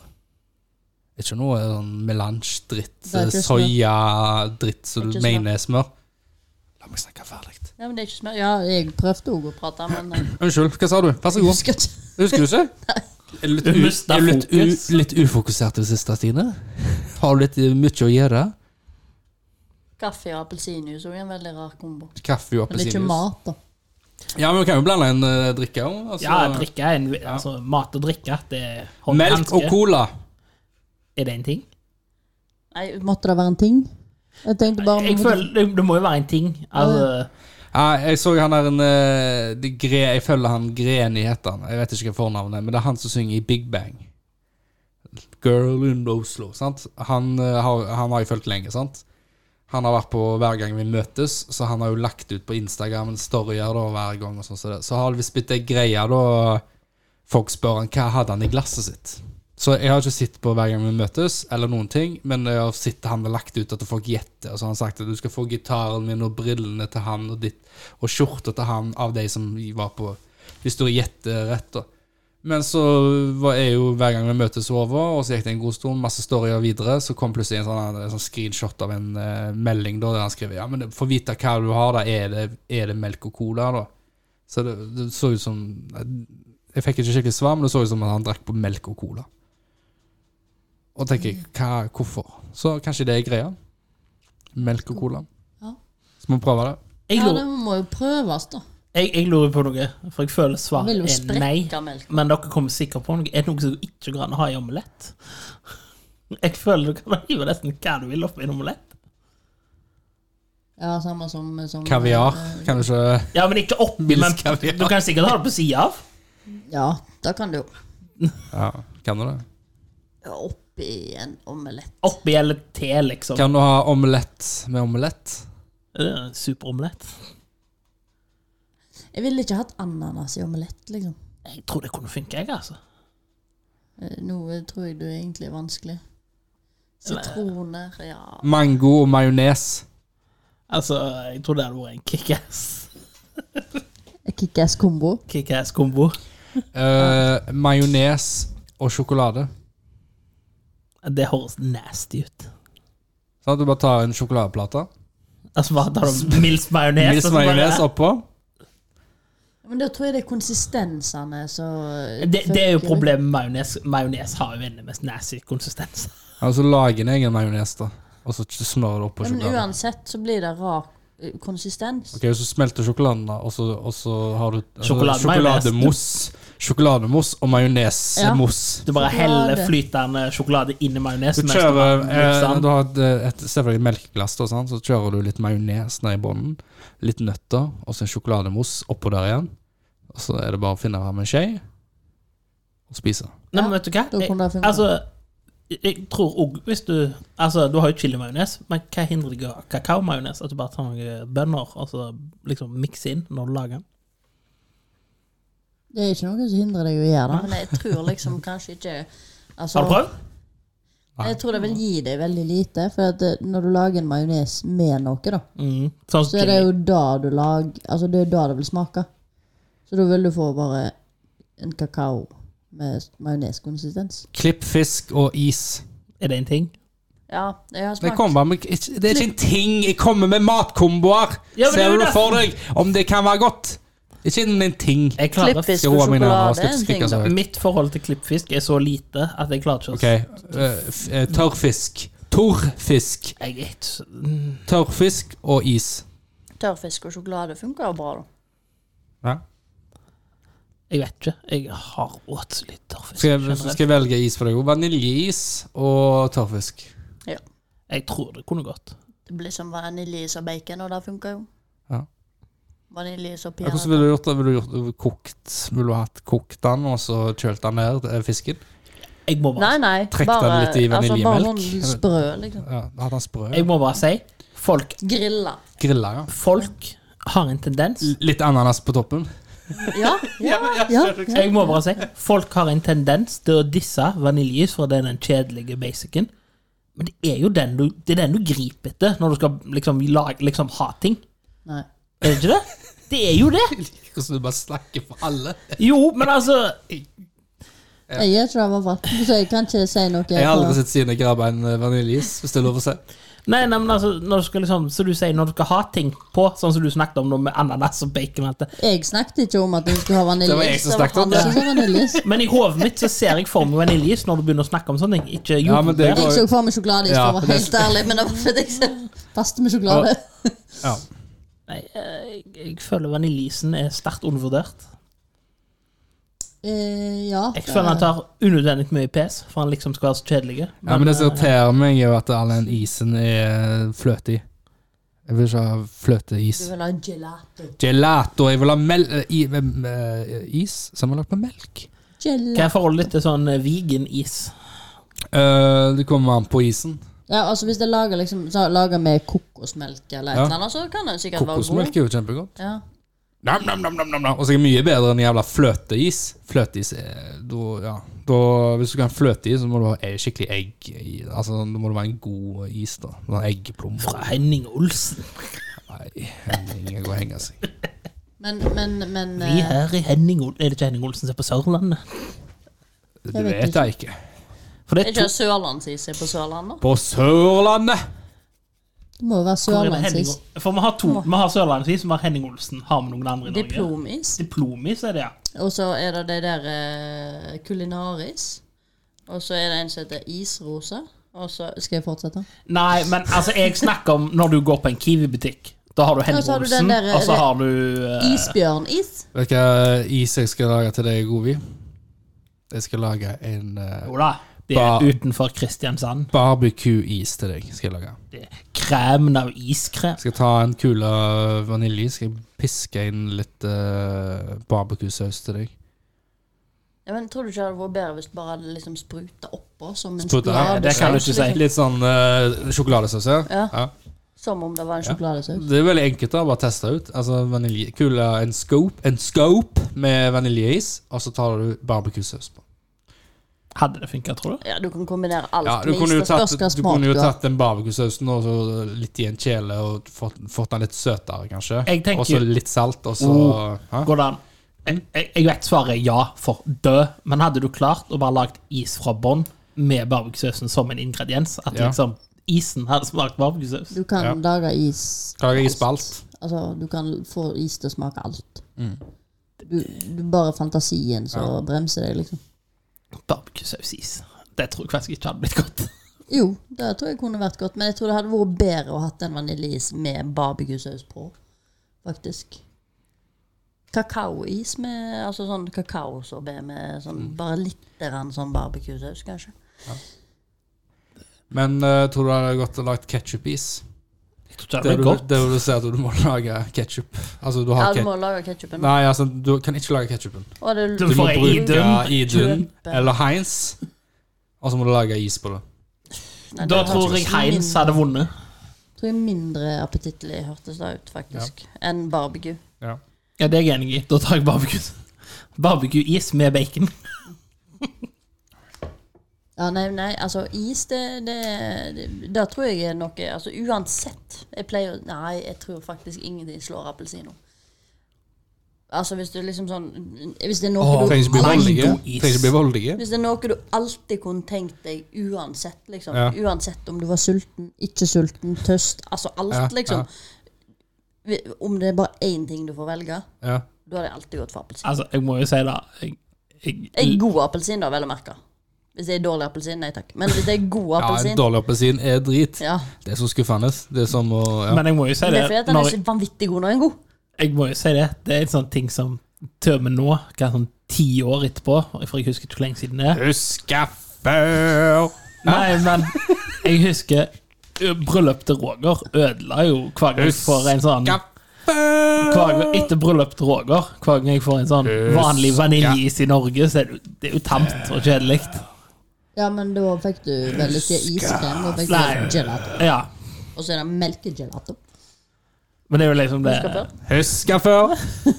Speaker 1: Ikke noe sånn melange-dritt,
Speaker 2: Det er ikke smør.
Speaker 1: soya-dritt som
Speaker 2: Det
Speaker 1: du
Speaker 2: er ikke
Speaker 1: mener er smør. La meg snakke ferdig.
Speaker 2: Ja, men det er ikke smør. Ja, jeg prøvde òg å prate, men eh,
Speaker 1: Unnskyld, hva sa du? Vær så
Speaker 2: jeg
Speaker 1: god.
Speaker 2: husker ikke.
Speaker 1: Husker du ikke? Er du litt,
Speaker 3: Du
Speaker 1: u,
Speaker 3: mistet
Speaker 1: er du litt, u,
Speaker 3: fokus.
Speaker 1: litt ufokusert i det siste, Stine? Har du litt eh, mye å gjøre?
Speaker 2: Kaffe og appelsinjuice òg er en veldig rar kombo.
Speaker 1: Kaffe og
Speaker 2: Men det er ikke
Speaker 1: appelsinjuice.
Speaker 2: mat, da.
Speaker 1: Ja, men vi kan jo blande en eh, drikke òg.
Speaker 3: ja, drikke er en, altså, mat og drikke, det er hånd i
Speaker 1: Melk og
Speaker 3: hanske.
Speaker 1: cola.
Speaker 3: Er det en ting?
Speaker 2: Nei, måtte det være en ting? Jeg tenkte bare
Speaker 3: Jeg føler, det, det må jo være en ting. Altså,
Speaker 1: Nei, jeg så han der en, eh, de gre, Jeg følger han Greni, heter han. Jeg vet ikke hva fornavnet er, men det er han som synger i Big Bang. Girl in Oslo. Sant? Han, eh, har, han har jeg fulgt lenge, sant? Han har vært på hver gang vi møtes, så han har jo lagt ut på Instagram en storyer da, hver gang. og sånn som det. Så har det visst blitt ei greie, da. Folk spør han hva hadde han i glasset sitt. Så jeg har ikke sett på hver gang vi møtes, eller noen ting, men jeg har sett han har lagt ut at folk gjetter. Og så har han sagt at du skal få gitaren min og brillene til han og ditt, og skjorta til han av de som var på Hvis du gjetter rett, da. Men så var jeg jo hver gang vi møtes over, og så gikk det en god stund, masse storyer videre, så kom plutselig en sånn, en sånn screenshot av en eh, melding da, der han skrev ja, men for å vite hva du har, da, er det, er det melk og cola, da? Så det, det så ut som Jeg fikk ikke skikkelig svar, men det så ut som at han drakk på melk og cola. Og tenker
Speaker 2: Mm.
Speaker 1: jeg, hva, hvorfor? Så kanskje det er greia. Melk og cola.
Speaker 2: Ja.
Speaker 1: Så må vi prøve det.
Speaker 3: Jeg
Speaker 2: Ja, det
Speaker 3: lurer,
Speaker 2: må jo prøves, da.
Speaker 3: jeg, jeg lurer på noe, for jeg
Speaker 2: Han vil
Speaker 3: føler svaret
Speaker 2: jo
Speaker 3: er nei.
Speaker 2: sprekke melk.
Speaker 3: Men dere kommer sikkert på noe. Er det noe som ikke går an å ha i omelett? Jeg føler du kan hive nesten hva du vil oppi en omelett.
Speaker 2: Ja, samme som, som eh,
Speaker 1: Kaviar. Kan du ikke
Speaker 3: Ja, men ikke oppi, men
Speaker 1: Mils kaviar.
Speaker 3: du kan sikkert ha det på sida av.
Speaker 2: Ja, da kan du jo
Speaker 1: Ja, kan du det?
Speaker 2: oppi en omelett.
Speaker 3: Oppi eller te, liksom.
Speaker 1: Kan du ha omelett med omelett?
Speaker 3: Det er en Superomelett.
Speaker 2: Jeg ville ikke hatt ananas i omelett, liksom.
Speaker 3: Jeg tror det kunne funke, jeg, altså.
Speaker 2: Eh, Nå tror jeg du egentlig er vanskelig. Sitroner, ja
Speaker 1: Mango og majones.
Speaker 3: Altså, Jeg tror det hadde vært en kickass
Speaker 2: Kickass-kombo.
Speaker 3: Kickass kombo.
Speaker 1: Eh, majones og sjokolade.
Speaker 3: Det høres nasty ut.
Speaker 1: Sånn at du bare tar en sjokoladeplate.
Speaker 3: Altså, bare tar du Mils majones
Speaker 1: Mils
Speaker 3: og så bare-
Speaker 1: majones oppå.
Speaker 2: Men da tror jeg det er konsistensene som
Speaker 3: det, det er jo problemet med majones. Majones har jo en av de mest nasty konsistens.
Speaker 1: Ja, så lager en egen majones, da. Og så smører du oppå
Speaker 2: Men
Speaker 1: sjokoladen.
Speaker 2: uansett så blir det rar eh, konsistens.
Speaker 1: Ok, Så smelter sjokoladen, da, og så, og så har du altså,
Speaker 3: Sjokolademajones.
Speaker 1: sjokolademousse. Sjokolademousse og majonesmousse.
Speaker 3: Du bare
Speaker 2: Sjokolade.
Speaker 3: heller flytende sjokolade inn i
Speaker 1: Du
Speaker 3: majonesen. mens
Speaker 1: kjører
Speaker 3: du
Speaker 1: eh,
Speaker 3: bare-
Speaker 1: Du har et, et selvfølgelig melkeglass, da, sant? så kjører du litt majones ned i bunnen. Litt nøtter, og så en sjokolademousse oppå der igjen. Og så er det bare å finne fram en skje og spise.
Speaker 3: Nei, men
Speaker 2: Ja,
Speaker 3: vet du hva?
Speaker 2: da kunne det
Speaker 3: Jeg,
Speaker 2: funka.
Speaker 3: altså, jeg- jeg tror òg hvis du Altså, du har jo chilimajones, men hva hindrer deg å ha kakaomajones? At du bare tar noen bønner og så liksom mikser inn når du lager den?
Speaker 2: Det er ikke noe som hindrer deg å gjøre det, men jeg tror liksom kanskje ikke altså,
Speaker 3: Har du prøvd?
Speaker 2: Jeg tror det vil gi deg veldig lite, for at eh, når du lager en majones med noe, da,
Speaker 3: Mm. Sånn
Speaker 2: så er det jo da du lager Altså, det er da det vil smake. Så da vil du få bare en kakao med majoneskonsistens.
Speaker 1: Klipp fisk og is.
Speaker 3: Er det en ting?
Speaker 2: Ja, jeg har
Speaker 1: Det,
Speaker 2: smakt.
Speaker 1: kommer bare med, ikke- det er ikke en ting! Jeg kommer med matkomboer!
Speaker 3: Ja, men det er
Speaker 1: Ser
Speaker 3: jo
Speaker 1: du
Speaker 3: det-
Speaker 1: for deg om det kan være godt? Ikke en ting.
Speaker 3: Jeg klarer
Speaker 2: Klippfisk
Speaker 1: Skal
Speaker 2: og
Speaker 1: roe meg ned, da.
Speaker 2: sjokolade er
Speaker 1: Slutt
Speaker 2: en ting,
Speaker 1: skrike
Speaker 2: da.
Speaker 1: sånn.
Speaker 3: Mitt forhold til klippfisk er så lite at jeg klarer ikke å
Speaker 1: Ok, eh, f- eh, tørrfisk. Torrfisk.
Speaker 3: Jeg er ikke mm.
Speaker 1: Tørrfisk og is.
Speaker 2: Tørrfisk og sjokolade funker jo bra, da.
Speaker 1: Ja.
Speaker 3: Jeg vet ikke. Jeg har åt litt tørrfisk.
Speaker 1: Skal jeg,
Speaker 3: generelt.
Speaker 1: skal jeg velge is for deg òg? Vaniljeis og tørrfisk.
Speaker 3: Jeg tror det kunne gått.
Speaker 2: Det blir som vaniljeis og bacon, og det funker jo.
Speaker 1: Ja.
Speaker 2: Vaniljeis og
Speaker 1: Ja, Hvordan ville du gjort det? Ville du gjort kokt Ville du hatt kokt den, og så kjølt den ned, eh, fisken?
Speaker 3: Jeg må
Speaker 2: Nei,
Speaker 3: bare,
Speaker 2: nei.
Speaker 1: Trekk den litt i
Speaker 2: bare
Speaker 1: vaniljemelk.
Speaker 2: sånn sprø, liksom.
Speaker 1: Ja, Hatt den sprø?
Speaker 3: jeg må bare si folk,
Speaker 2: Grilla.
Speaker 1: Grilla, ja.
Speaker 3: folk har en tendens
Speaker 1: L- Litt ananas på toppen?
Speaker 2: Ja, ja, ja. ja.
Speaker 3: Jeg må bare si folk har en tendens til å disse vaniljeis, for det er den kjedelige basicen. Men det er jo den du, det er den du griper etter når du skal liksom, lage, liksom ha ting.
Speaker 2: Nei.
Speaker 3: Er det ikke det? Det er jo det!
Speaker 1: Hvordan du bare snakker for alle.
Speaker 3: Jo, men altså
Speaker 2: Jeg gjør ikke det av hvert, så jeg kan ikke si noe.
Speaker 1: Jeg har aldri
Speaker 2: for-
Speaker 1: sett Sine grabbe en eh, vaniljeis, hvis det er lov å se.
Speaker 3: Nei, nei, men altså, når du skal liksom, så du sier, når du skal ha ting på, sånn som du snakket om nå med ananas og bacon og alt det.
Speaker 2: Jeg snakket ikke om at du skulle ha vaniljeis.
Speaker 1: Det var jeg som snakket om det.
Speaker 2: det. var han som sa vaniljeis.
Speaker 3: Men i hodet mitt så ser jeg for meg vaniljeis når du begynner å snakke om sånne ting. Ikke
Speaker 1: Ja, men det
Speaker 3: jordbær.
Speaker 1: går-
Speaker 2: Jeg så for meg sjokoladeis, for
Speaker 1: Ja,
Speaker 2: å være
Speaker 1: det-
Speaker 2: helt ærlig, men det var fordi jeg ikke passet med sjokolade.
Speaker 1: Ja.
Speaker 3: Nei, eh, jeg, jeg føler vaniljeisen er sterkt undervurdert.
Speaker 2: Eh, ja.
Speaker 3: Jeg føler han tar unødvendig mye pes, for han liksom skal være så kjedelig.
Speaker 1: ja, Men det som irriterer meg, er jo at all den isen er fløte i. Jeg vil ikke ha fløteis.
Speaker 2: Du vil ha gelato.
Speaker 1: Gelato. Jeg vil ha mel eh, i, eh, is som er lagt med melk.
Speaker 3: Hva
Speaker 2: Gelato.
Speaker 3: er forholdet ditt til sånn eh, vegan-is?
Speaker 1: Eh, det kommer an på isen.
Speaker 2: Ja, altså Hvis det lager liksom, så lager med kokosmelk eller et
Speaker 1: Ja.
Speaker 2: eller annet, så kan den sikkert være god.
Speaker 1: Kokosmelk er jo kjempegodt.
Speaker 2: Ja.
Speaker 1: Nam, nam, nam, nam, nam, nam. Og så er det mye bedre enn jævla fløteis. Fløteis er da, ja. da, Hvis du kan fløteis, så må du ha e- skikkelig egg i Altså, Da må det være en god is, da. Noen eggeplomme.
Speaker 3: Fra Henning Olsen.
Speaker 1: Nei, Henning går og henger seg.
Speaker 2: Men, men, men
Speaker 3: Vi
Speaker 2: eh,
Speaker 3: her i Henning Olsen Er det ikke Henning Olsen som er på Sørlandet?
Speaker 1: Du
Speaker 2: Jeg vet
Speaker 1: vet jeg ikke.
Speaker 3: For
Speaker 2: eh, Er
Speaker 3: det er
Speaker 2: ikke
Speaker 3: to
Speaker 2: det sørlandsis er på Sørlandet?
Speaker 1: På Sørlandet!
Speaker 2: Det må jo være
Speaker 3: Hvor er det Henning
Speaker 2: sørlandsis.
Speaker 3: Ol- For vi har to. Vi har Sørlandsis, vi har Henning Olsen. Har vi noen andre i Norge?
Speaker 2: Diplomis.
Speaker 3: Diplomis er det, ja.
Speaker 2: Og så er det de der eh, kulinaris. Og så er det en som heter isrosa. Og så Skal jeg fortsette?
Speaker 3: Nei, men altså, jeg snakker om når du går på en Kiwi-butikk. Da har du Henning
Speaker 2: Ja, så har du den
Speaker 3: Olsen,
Speaker 2: der-
Speaker 3: og så har du eh,
Speaker 2: Isbjørnis.
Speaker 1: Vet du hva is jeg skal lage til deg, Govi? Jeg skal lage en eh,
Speaker 3: Jo da, det
Speaker 1: Ba-
Speaker 3: er utenfor Kristiansand.
Speaker 1: barbecue-is til deg. skal jeg lage.
Speaker 3: Det er Kremen av iskrem.
Speaker 1: Jeg skal ta en kule vaniljeis, skal jeg piske inn litt eh, barbecue-saus til deg.
Speaker 2: Ja, men Tror du ikke det hadde vært bedre hvis du bare hadde liksom spruta oppå som en
Speaker 1: Spruta? Ja,
Speaker 3: det kan du ikke si.
Speaker 2: liksom.
Speaker 1: Litt sånn eh, sjokoladesaus, ja.
Speaker 2: Ja.
Speaker 1: ja.
Speaker 2: Som om det var en
Speaker 1: Ja.
Speaker 2: sjokoladesaus.
Speaker 1: Det er veldig enkelt da, bare teste ut. Altså vanilje, kule, en scope, en scope med vaniljeis, og så tar du barbecue-saus på.
Speaker 3: Hadde det funka, tror du?
Speaker 2: Ja, du kan kombinere alt
Speaker 1: Ja, du
Speaker 2: med is.
Speaker 1: kunne jo
Speaker 2: Det
Speaker 1: tatt,
Speaker 2: spørs
Speaker 1: du
Speaker 2: hva
Speaker 1: kunne
Speaker 2: smak
Speaker 1: jo
Speaker 2: du har.
Speaker 1: tatt den barbecue-sausen og så litt i en kjele og fått, fått den litt søtere, kanskje.
Speaker 3: Jeg tenker-
Speaker 1: Og så litt salt, og så
Speaker 3: Oh.
Speaker 1: Hæ?
Speaker 3: Går det an? Jeg, jeg, jeg vet svaret er ja for død, men hadde du klart å bare lagt is fra bånn med barbecuesausen som en ingrediens? At
Speaker 1: Ja.
Speaker 3: liksom isen hadde smakt barbecuesaus?
Speaker 2: Du kan
Speaker 1: Ja.
Speaker 2: lage is
Speaker 1: Kan jeg is på alt?
Speaker 2: Altså, du kan få is til å smake alt.
Speaker 1: Mm.
Speaker 2: Du, du bare fantasien som bremser deg, liksom.
Speaker 3: Barbecuesausis. Det tror jeg faktisk ikke hadde blitt godt.
Speaker 2: Jo, det tror jeg kunne vært godt, men jeg tror det hadde vært bedre å hatt en vaniljeis med barbecue-saus på, faktisk. Kakaois med altså sånn kakaosorbé med
Speaker 3: Mm.
Speaker 2: sånn, bare litt grann sånn barbecue-saus, kanskje.
Speaker 1: Men eh, tror du det hadde gått og lagd ketchup-is?
Speaker 3: Jeg tror ikke det
Speaker 1: Det
Speaker 3: hadde
Speaker 1: er
Speaker 3: blitt
Speaker 1: jo
Speaker 3: godt.
Speaker 1: det du ser at du må lage ketchup. Altså, du
Speaker 2: Ja,
Speaker 1: har
Speaker 2: du
Speaker 1: ketchup.
Speaker 2: må lage ketsjupen.
Speaker 1: Nei, altså, du kan ikke lage ketchupen.
Speaker 2: Og det
Speaker 3: Du
Speaker 1: Du må
Speaker 3: får ei
Speaker 1: bruke
Speaker 3: Idun.
Speaker 1: Idun
Speaker 2: Kjøpe.
Speaker 1: eller Heinz, og så må du lage is på det.
Speaker 2: nei, det
Speaker 3: Da
Speaker 2: hørtes
Speaker 3: tror jeg Heinz
Speaker 2: mindre-
Speaker 3: hadde vunnet.
Speaker 2: tror jeg mindre appetittlig hørtes det ut, faktisk, enn barbecue.
Speaker 3: Ja, det er jeg enig i. Da tar jeg barbecue. Barbecue-is med bacon.
Speaker 2: Ja, nei, nei, altså is, det, det, det Da tror jeg er noe Altså uansett Jeg pleier å- Nei, jeg tror faktisk ingenting slår appelsino. Altså hvis du liksom sånn Hvis det er noe,
Speaker 1: Trenger ikke bli
Speaker 2: du,
Speaker 3: mango-is.
Speaker 1: voldige. Trenger ikke bli voldige.
Speaker 2: hvis det er noe du alltid kunne tenkt deg uansett, liksom.
Speaker 1: Ja.
Speaker 2: Uansett om du var sulten, ikke sulten, tøst Altså alt,
Speaker 1: Ja,
Speaker 2: liksom. Vi- Om det er bare én ting du får velge,
Speaker 1: Ja.
Speaker 2: da hadde jeg alltid gått for appelsin.
Speaker 3: Altså, jeg må jo si det. Jeg, jeg,
Speaker 2: En god appelsin, da, vel å merke. Hvis det er dårlig appelsin, nei takk. Men hvis det er god
Speaker 1: ja, en
Speaker 2: appelsin
Speaker 1: dårlig appelsin er drit.
Speaker 2: ja.
Speaker 1: Det er så skuffende. Det er som å ja.
Speaker 3: men jeg må jo si
Speaker 2: Men
Speaker 3: det.
Speaker 2: det er fordi at den
Speaker 3: når
Speaker 2: er
Speaker 3: jeg-
Speaker 2: så vanvittig god når den er god.
Speaker 3: Jeg må jo si det. Det er en sånn ting som tør meg nå, hva sånn ti år etterpå, for jeg husker ikke hvor lenge siden det er.
Speaker 1: Husker før
Speaker 3: Nei, men jeg husker ø, bryllup til Roger ødela jo hver gang jeg får en sånn
Speaker 1: Husker før
Speaker 3: hver gang, Etter bryllup til Roger, hver gang jeg får en sånn vanlig vaniljeis i Norge, så er det, jo- det er jo tamt og kjedelig.
Speaker 2: Ja, men da fikk du vel ikke iskrem, da fikk
Speaker 3: Nei.
Speaker 2: du sånn gelato.
Speaker 3: Ja,
Speaker 2: Og så er det melkegelato.
Speaker 3: men det er jo liksom det
Speaker 2: Husker
Speaker 1: Husker
Speaker 2: før.
Speaker 1: før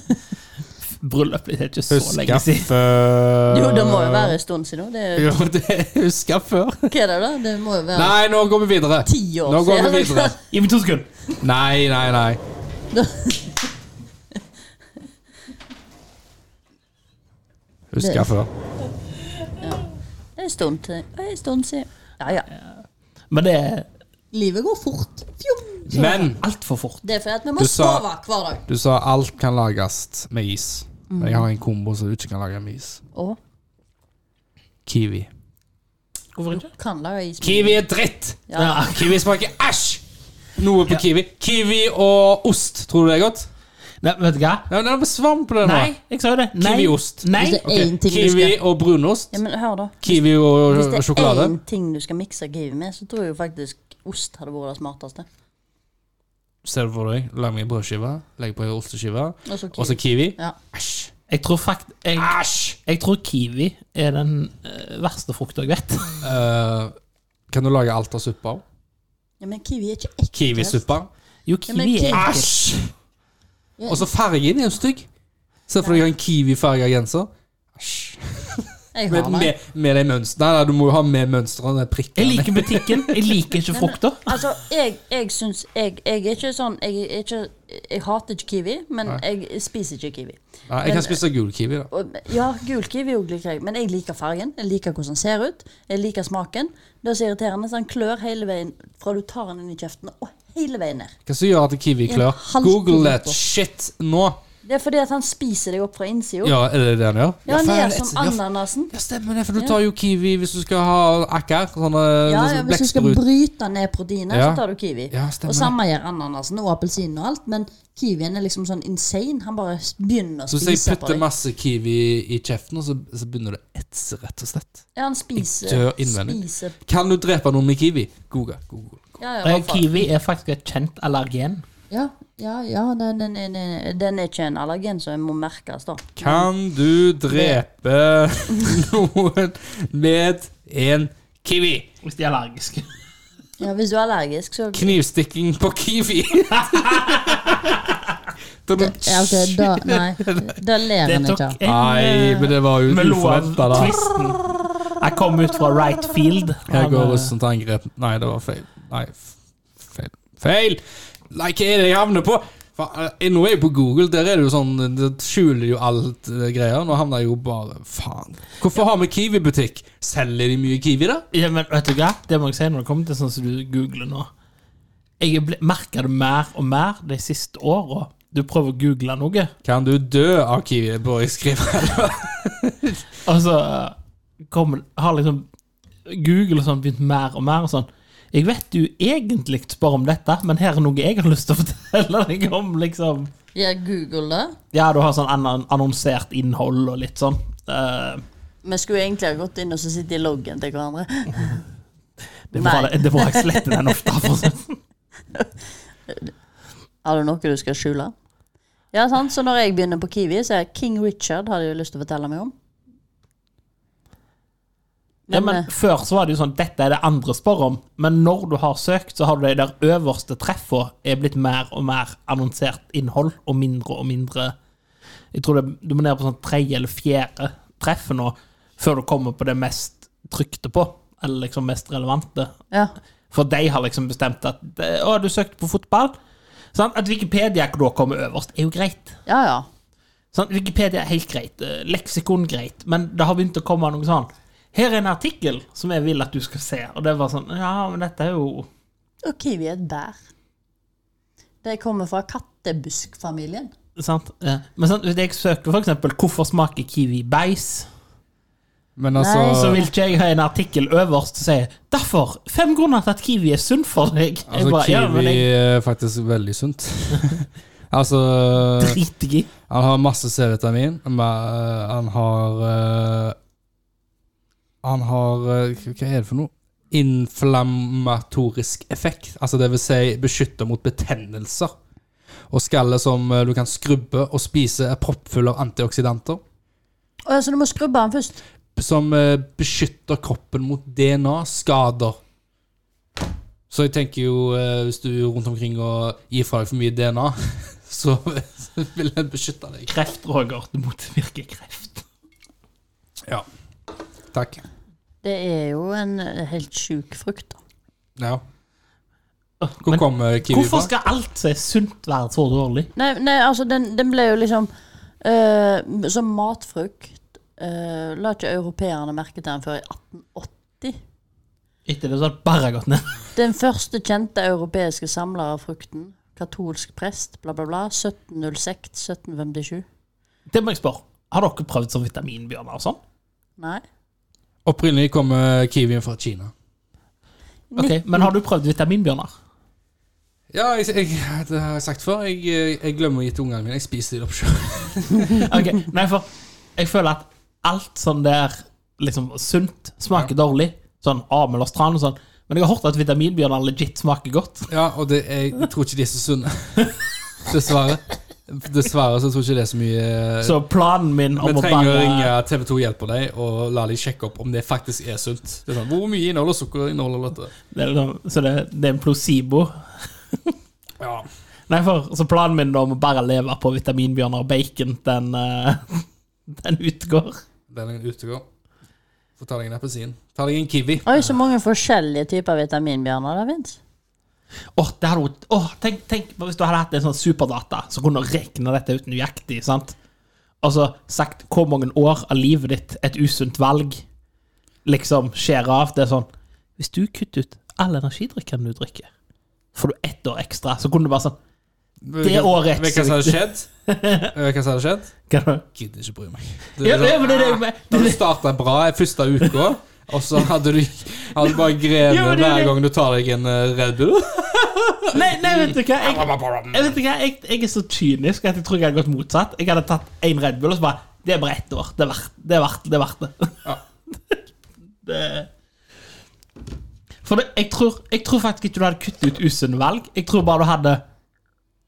Speaker 3: Bryllupet ditt er ikke så lenge
Speaker 1: Husker
Speaker 3: siden.
Speaker 1: før
Speaker 2: Jo, det må jo være en stund siden. nå. Det er,
Speaker 1: Jo, det er husker før.
Speaker 2: hva er det da? Det må jo være
Speaker 1: Nei, nå går vi videre.
Speaker 2: ti år
Speaker 1: Nå går vi
Speaker 2: siden.
Speaker 1: videre.
Speaker 3: Gi meg to sekunder.
Speaker 1: Nei, nei, nei. Husker før.
Speaker 2: Det er en stund til. Det er en stund siden. Ja, ja.
Speaker 3: Men det er
Speaker 2: Livet går fort. Fjom.
Speaker 1: Men
Speaker 3: altfor fort.
Speaker 2: Det er fordi at vi må
Speaker 1: Du sa-
Speaker 2: sove hver dag.
Speaker 1: Du sa alt kan lages med is. Men jeg har en kombo som du ikke kan lage med is.
Speaker 2: Og
Speaker 1: Kiwi.
Speaker 3: Hvorfor ikke?
Speaker 2: kan lage is.
Speaker 1: Kiwi er dritt!
Speaker 2: Ja.
Speaker 3: Ja.
Speaker 1: Kiwi smaker æsj! Noe på kiwi. Kiwi og ost, tror du det er godt?
Speaker 3: Nei, vet du hva?
Speaker 1: Nei, nei, men Svar på det nå.
Speaker 3: Nei, jeg sa jo det. Nei.
Speaker 1: Kiwiost.
Speaker 3: Nei.
Speaker 2: Hvis det
Speaker 1: Ok,
Speaker 2: er én ting du
Speaker 1: Kiwi
Speaker 2: skal
Speaker 1: og brunost.
Speaker 2: Ja, men hør da.
Speaker 1: Kiwi og
Speaker 2: Hvis det er
Speaker 1: sjokolade.
Speaker 2: én ting du skal mikse kiwi med, så tror jeg jo faktisk ost hadde vært det smarteste.
Speaker 1: Ser du for deg, lag meg en brødskive, legg på en osteskive,
Speaker 2: Og så
Speaker 1: og så
Speaker 2: kiwi.
Speaker 1: kiwi.
Speaker 2: Ja.
Speaker 1: Æsj!
Speaker 3: Jeg tror fakt... Jeg,
Speaker 1: Æsj!
Speaker 3: jeg tror kiwi er den eh, verste frukta jeg vet.
Speaker 1: Eh, kan du lage alt av suppe? av?
Speaker 2: ja, men kiwi er ikke ekkelt.
Speaker 1: Kiwisuppe?
Speaker 3: Jo,
Speaker 2: Ja, men
Speaker 3: kiwi er
Speaker 2: kiwi-
Speaker 3: ekkelt.
Speaker 1: Æsj! Og så fargen er jo stygg. Se for deg en kiwifarga genser. Æsj.
Speaker 2: Jeg
Speaker 1: Med,
Speaker 2: har meg.
Speaker 1: med, med de mønstrene. Nei, nei, du må jo ha med mønstrene.
Speaker 3: Jeg
Speaker 1: Prikkene.
Speaker 3: liker butikken, jeg liker ikke frukta.
Speaker 2: Altså, jeg, jeg syns jeg, jeg er ikke sånn Jeg, er ikke, jeg hater ikke kiwi, men jeg spiser ikke kiwi.
Speaker 1: Nei, jeg kan spise gul kiwi, da.
Speaker 2: Og, ja, gul kiwi også liker jeg, men jeg liker fargen. Jeg liker hvordan den ser ut. Jeg liker smaken. Det er så irriterende, så den klør hele veien fra du tar den inn i kjeften og hele veien ned.
Speaker 1: Hva som gjør at kiwi
Speaker 2: En
Speaker 1: klør?
Speaker 2: halv
Speaker 1: Google
Speaker 2: kilo
Speaker 1: that
Speaker 2: på.
Speaker 1: shit nå!
Speaker 2: Det er fordi at han spiser deg opp fra innsida. Ja,
Speaker 1: Ja, er det det han gjør?
Speaker 2: han
Speaker 1: faen,
Speaker 2: gjør
Speaker 1: det-
Speaker 2: som
Speaker 1: ja,
Speaker 2: ananasen.
Speaker 1: Ja, stemmer det, for du tar jo kiwi hvis du skal ha akker. Sånne
Speaker 2: Ja, ja,
Speaker 1: sånn
Speaker 2: Hvis du skal
Speaker 1: blekksprut.
Speaker 2: bryte ned proteinet,
Speaker 1: Ja.
Speaker 2: så tar du kiwi.
Speaker 1: Ja, stemmer
Speaker 2: og samme gjør ananasen og appelsinen og alt, men kiwien er liksom sånn insane. Han bare s- begynner å
Speaker 1: Så hvis
Speaker 2: spise
Speaker 1: jeg
Speaker 2: på
Speaker 1: putter
Speaker 2: deg.
Speaker 1: masse kiwi i kjeften, og så, så begynner det å etse, rett og slett.
Speaker 2: Ja, han
Speaker 1: dør
Speaker 2: spiser,
Speaker 1: innvendig.
Speaker 2: spiser
Speaker 1: Kan du drepe noen med kiwi? Google. Google.
Speaker 2: Ja, ja,
Speaker 3: Eh,
Speaker 2: hva faen.
Speaker 3: Kiwi er faktisk et kjent allergen.
Speaker 2: ja, ja, ja den, den, den, den er ikke en allergen, så den må merkes, da.
Speaker 1: Kan du drepe noen med en kiwi?
Speaker 3: Hvis de er allergiske.
Speaker 2: Ja, Hvis du er allergisk, så
Speaker 1: Knivstikking på kiwi.
Speaker 2: Ja, ok, da, nei, da ler
Speaker 3: Det
Speaker 2: han ikke
Speaker 3: tok
Speaker 2: av.
Speaker 3: en
Speaker 1: Nei, men det var jo
Speaker 3: Vi lo av
Speaker 1: uforventa, da.
Speaker 3: tvisten. Jeg kom ut fra right field.
Speaker 1: Jeg går
Speaker 3: Han, eh,
Speaker 1: russen til angrep. Nei, det var feil. Nei, f- feil. Feil! Nei, hva er det jeg havner på? Fa- eh, Nå er jeg på Google, der er det jo sånn Det skjuler jo alt eh, greier. Nå havner jeg jo bare Faen. Hvorfor har vi Kiwi-butikk? Selger de mye Kiwi, da?
Speaker 3: Ja, men vet du hva? Det må jeg si når det kommer til sånn som du googler nå. Jeg ble- merker det mer og mer de siste åra. Du prøver å google noe,
Speaker 1: Kan du dø av Kiwi? Bør jeg skrive?
Speaker 3: og så altså, kommer, har liksom Google og sånn begynt mer og mer og sånn. Jeg vet du egentlig spør om dette, men her er noe jeg har lyst til å fortelle deg om, liksom.
Speaker 2: Ja, Google det.
Speaker 3: Ja, du har sånn annon- annonsert innhold og litt sånn. Eh,
Speaker 2: Vi skulle egentlig ha gått inn og så sitte i loggen til hverandre.
Speaker 3: det, må,
Speaker 2: Nei.
Speaker 3: det må jeg slette den ofte. For å si.
Speaker 2: Har du noe du skal skjule? Ja, sant? Så når jeg begynner på Kiwi, så er King Richard hadde jeg jo lyst til å fortelle meg om.
Speaker 3: Ja, men
Speaker 2: eh,
Speaker 3: Før så var det jo sånn dette er det andre spør om, men når du har søkt, så har du de der øverste treffa er blitt mer og mer annonsert innhold, og mindre og mindre Jeg tror det, du må ned på sånn tredje eller fjerde treff nå, før du kommer på det mest trykte på, eller liksom mest relevante.
Speaker 2: ja.
Speaker 3: For de har liksom bestemt at eh, Å, du søkte på fotball? Sant? At Wikipedia da kommer øverst, er jo greit.
Speaker 2: ja, ja.
Speaker 3: Sant? Wikipedia er helt greit, eh, leksikon greit, men det har begynt å komme noe sånn Her er en artikkel som jeg vil at du skal se. Og det var sånn Ja, men dette er jo
Speaker 2: Og Kiwi er et bær. De kommer fra kattebuskfamilien.
Speaker 3: Sant? Eh, Men sant, hvis jeg søker for eksempel 'Hvorfor smaker kiwi bæsj',
Speaker 1: Men
Speaker 2: Nei,
Speaker 3: så
Speaker 1: altså,
Speaker 3: vil ikke jeg ha en artikkel øverst som sier 'Derfor fem grunner til at kiwi er sunn for deg'. jeg
Speaker 1: altså
Speaker 3: bare, ja, men
Speaker 1: Kiwi
Speaker 3: jeg
Speaker 1: er faktisk veldig sunt. altså
Speaker 3: driter jeg i.
Speaker 1: Han har masse C-vitamin. men, eh, Han har eh, Han har eh, Hva er det for noe? Inflammatorisk effekt. Altså det vil si beskytter mot betennelser. Og skallet som eh, du kan skrubbe og spise, er proppfull av antioksidanter.
Speaker 2: Å ja, så du må skrubbe den først.
Speaker 1: Som eh, beskytter kroppen mot DNA-skader. Så jeg tenker jo, eh, hvis du er rundt omkring og gir fra deg for mye DNA, så, så vil den beskytte deg.
Speaker 3: Kreft, Roger. Det motvirker kreft.
Speaker 1: Ja. Takk.
Speaker 2: Det er jo en eh, helt sjuk frukt. da.
Speaker 1: Ja.
Speaker 3: Åh,
Speaker 1: Hvor
Speaker 3: men
Speaker 1: kom eh, kiwi
Speaker 3: hvorfor
Speaker 1: fra?
Speaker 3: skal alt som er sunt, være så dårlig?
Speaker 2: Nei, nei altså, den, den ble jo liksom eh, Som matfrukt eh, la ikke europeerne merke til den før i 1880.
Speaker 3: Etter det så har det bare gått ned.
Speaker 2: Den første kjente europeiske samler av frukten, katolsk prest, bla, bla, bla, 1706-1757.
Speaker 3: Det må jeg spørre. Har dere prøvd sånn vitaminbjørner og sånn?
Speaker 2: Nei.
Speaker 1: Opprinnelig kom eh, kiwien fra Kina.
Speaker 3: Ok, Men har du prøvd vitaminbjørner?
Speaker 1: Ja, jeg, jeg, det har jeg sagt før. Jeg, eh, jeg glemmer å gi til ungene mine. Jeg spiser de opp sjøl.
Speaker 3: Ok, Nei, for jeg føler at alt sånn der liksom sunt smaker dårlig. Sånn amel og strand og sånn. Men jeg har hørt at vitaminbjørner legit smaker godt.
Speaker 1: Ja, og det er, jeg tror ikke de er så sunne. Dessverre. Dessverre så tror jeg ikke det er så mye eh,
Speaker 3: Så planen min om
Speaker 1: Vi
Speaker 3: å
Speaker 1: trenger å ringe
Speaker 3: banne
Speaker 1: TV 2 Hjelper deg og la dem sjekke opp om det faktisk er sunt. Det er sånn, Hvor mye inneholder sukker inneholder dette?
Speaker 3: det er liksom, Så det, det er en placebo.
Speaker 1: Ja.
Speaker 3: Nei, for så planen min da om å bare leve på vitaminbjørner og bacon, den, eh, den utgår.
Speaker 1: Den er en utegår. Få ta deg en appelsin. Ta deg en kiwi.
Speaker 2: Oi, så mange forskjellige typer vitaminbjørner det fins.
Speaker 3: Åh, det hadde vært Åh, tenk, tenk hvis du hadde hatt en sånn superdata som kunne regne dette ut nøyaktig, sant? Og så sagt hvor mange år av livet ditt et usunt valg liksom skjer av. Det er sånn Hvis du kutter ut all energidrikken du drikker, får du ett år ekstra. Så kunne du bare sånn Det året er
Speaker 1: Vet du hva som hadde skjedd? Vet du hva som hadde skjedd?
Speaker 3: kan du,
Speaker 1: Gidder ikke bry meg.
Speaker 3: ja, det, men det, er det, men
Speaker 1: Da
Speaker 3: det,
Speaker 1: du
Speaker 3: det,
Speaker 1: starta bra i første uka, og så hadde du, hadde du bare
Speaker 3: Ja,
Speaker 1: grenet
Speaker 3: men det er
Speaker 1: hver
Speaker 3: det.
Speaker 1: gang du tar deg en eh, Red Bull.
Speaker 3: Nei, nei, vet du hva? Jeg, jeg, vet du hva? Jeg, jeg er så kynisk at jeg tror jeg hadde gått motsatt. Jeg hadde tatt én Red Bull og så bare Det er bare ett år. Det er verdt det. Er verdt, det, er verdt det.
Speaker 1: Ja.
Speaker 3: det. For det, jeg, tror, jeg tror faktisk ikke du hadde kuttet ut usunne valg. Jeg tror bare du hadde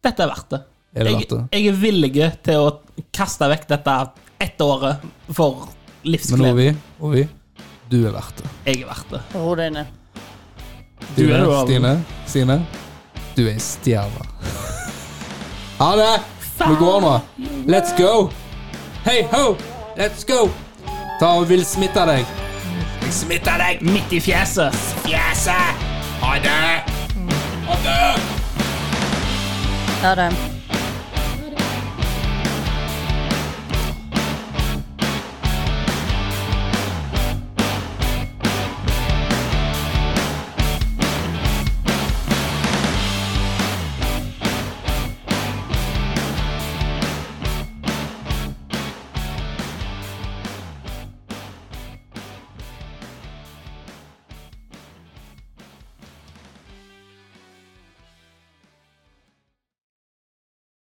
Speaker 3: Dette er verdt det.
Speaker 1: Er det verdt det?
Speaker 3: Jeg, jeg er villig til å kaste vekk dette ett året for
Speaker 1: Men
Speaker 3: livsglede.
Speaker 1: Ovi, Ovi, du er verdt det.
Speaker 3: Jeg er verdt det.
Speaker 2: Ro deg ned.
Speaker 3: Du er jo-
Speaker 1: Stine, Stine, du er en stjerne. Ha det! Vi går nå. Let's go! Hei ho! Let's go! Ta og vil smitte deg. Jeg smitter deg!
Speaker 3: Midt i fjeset.
Speaker 1: Fjeset! Ha det! Ha det!
Speaker 2: Ha det.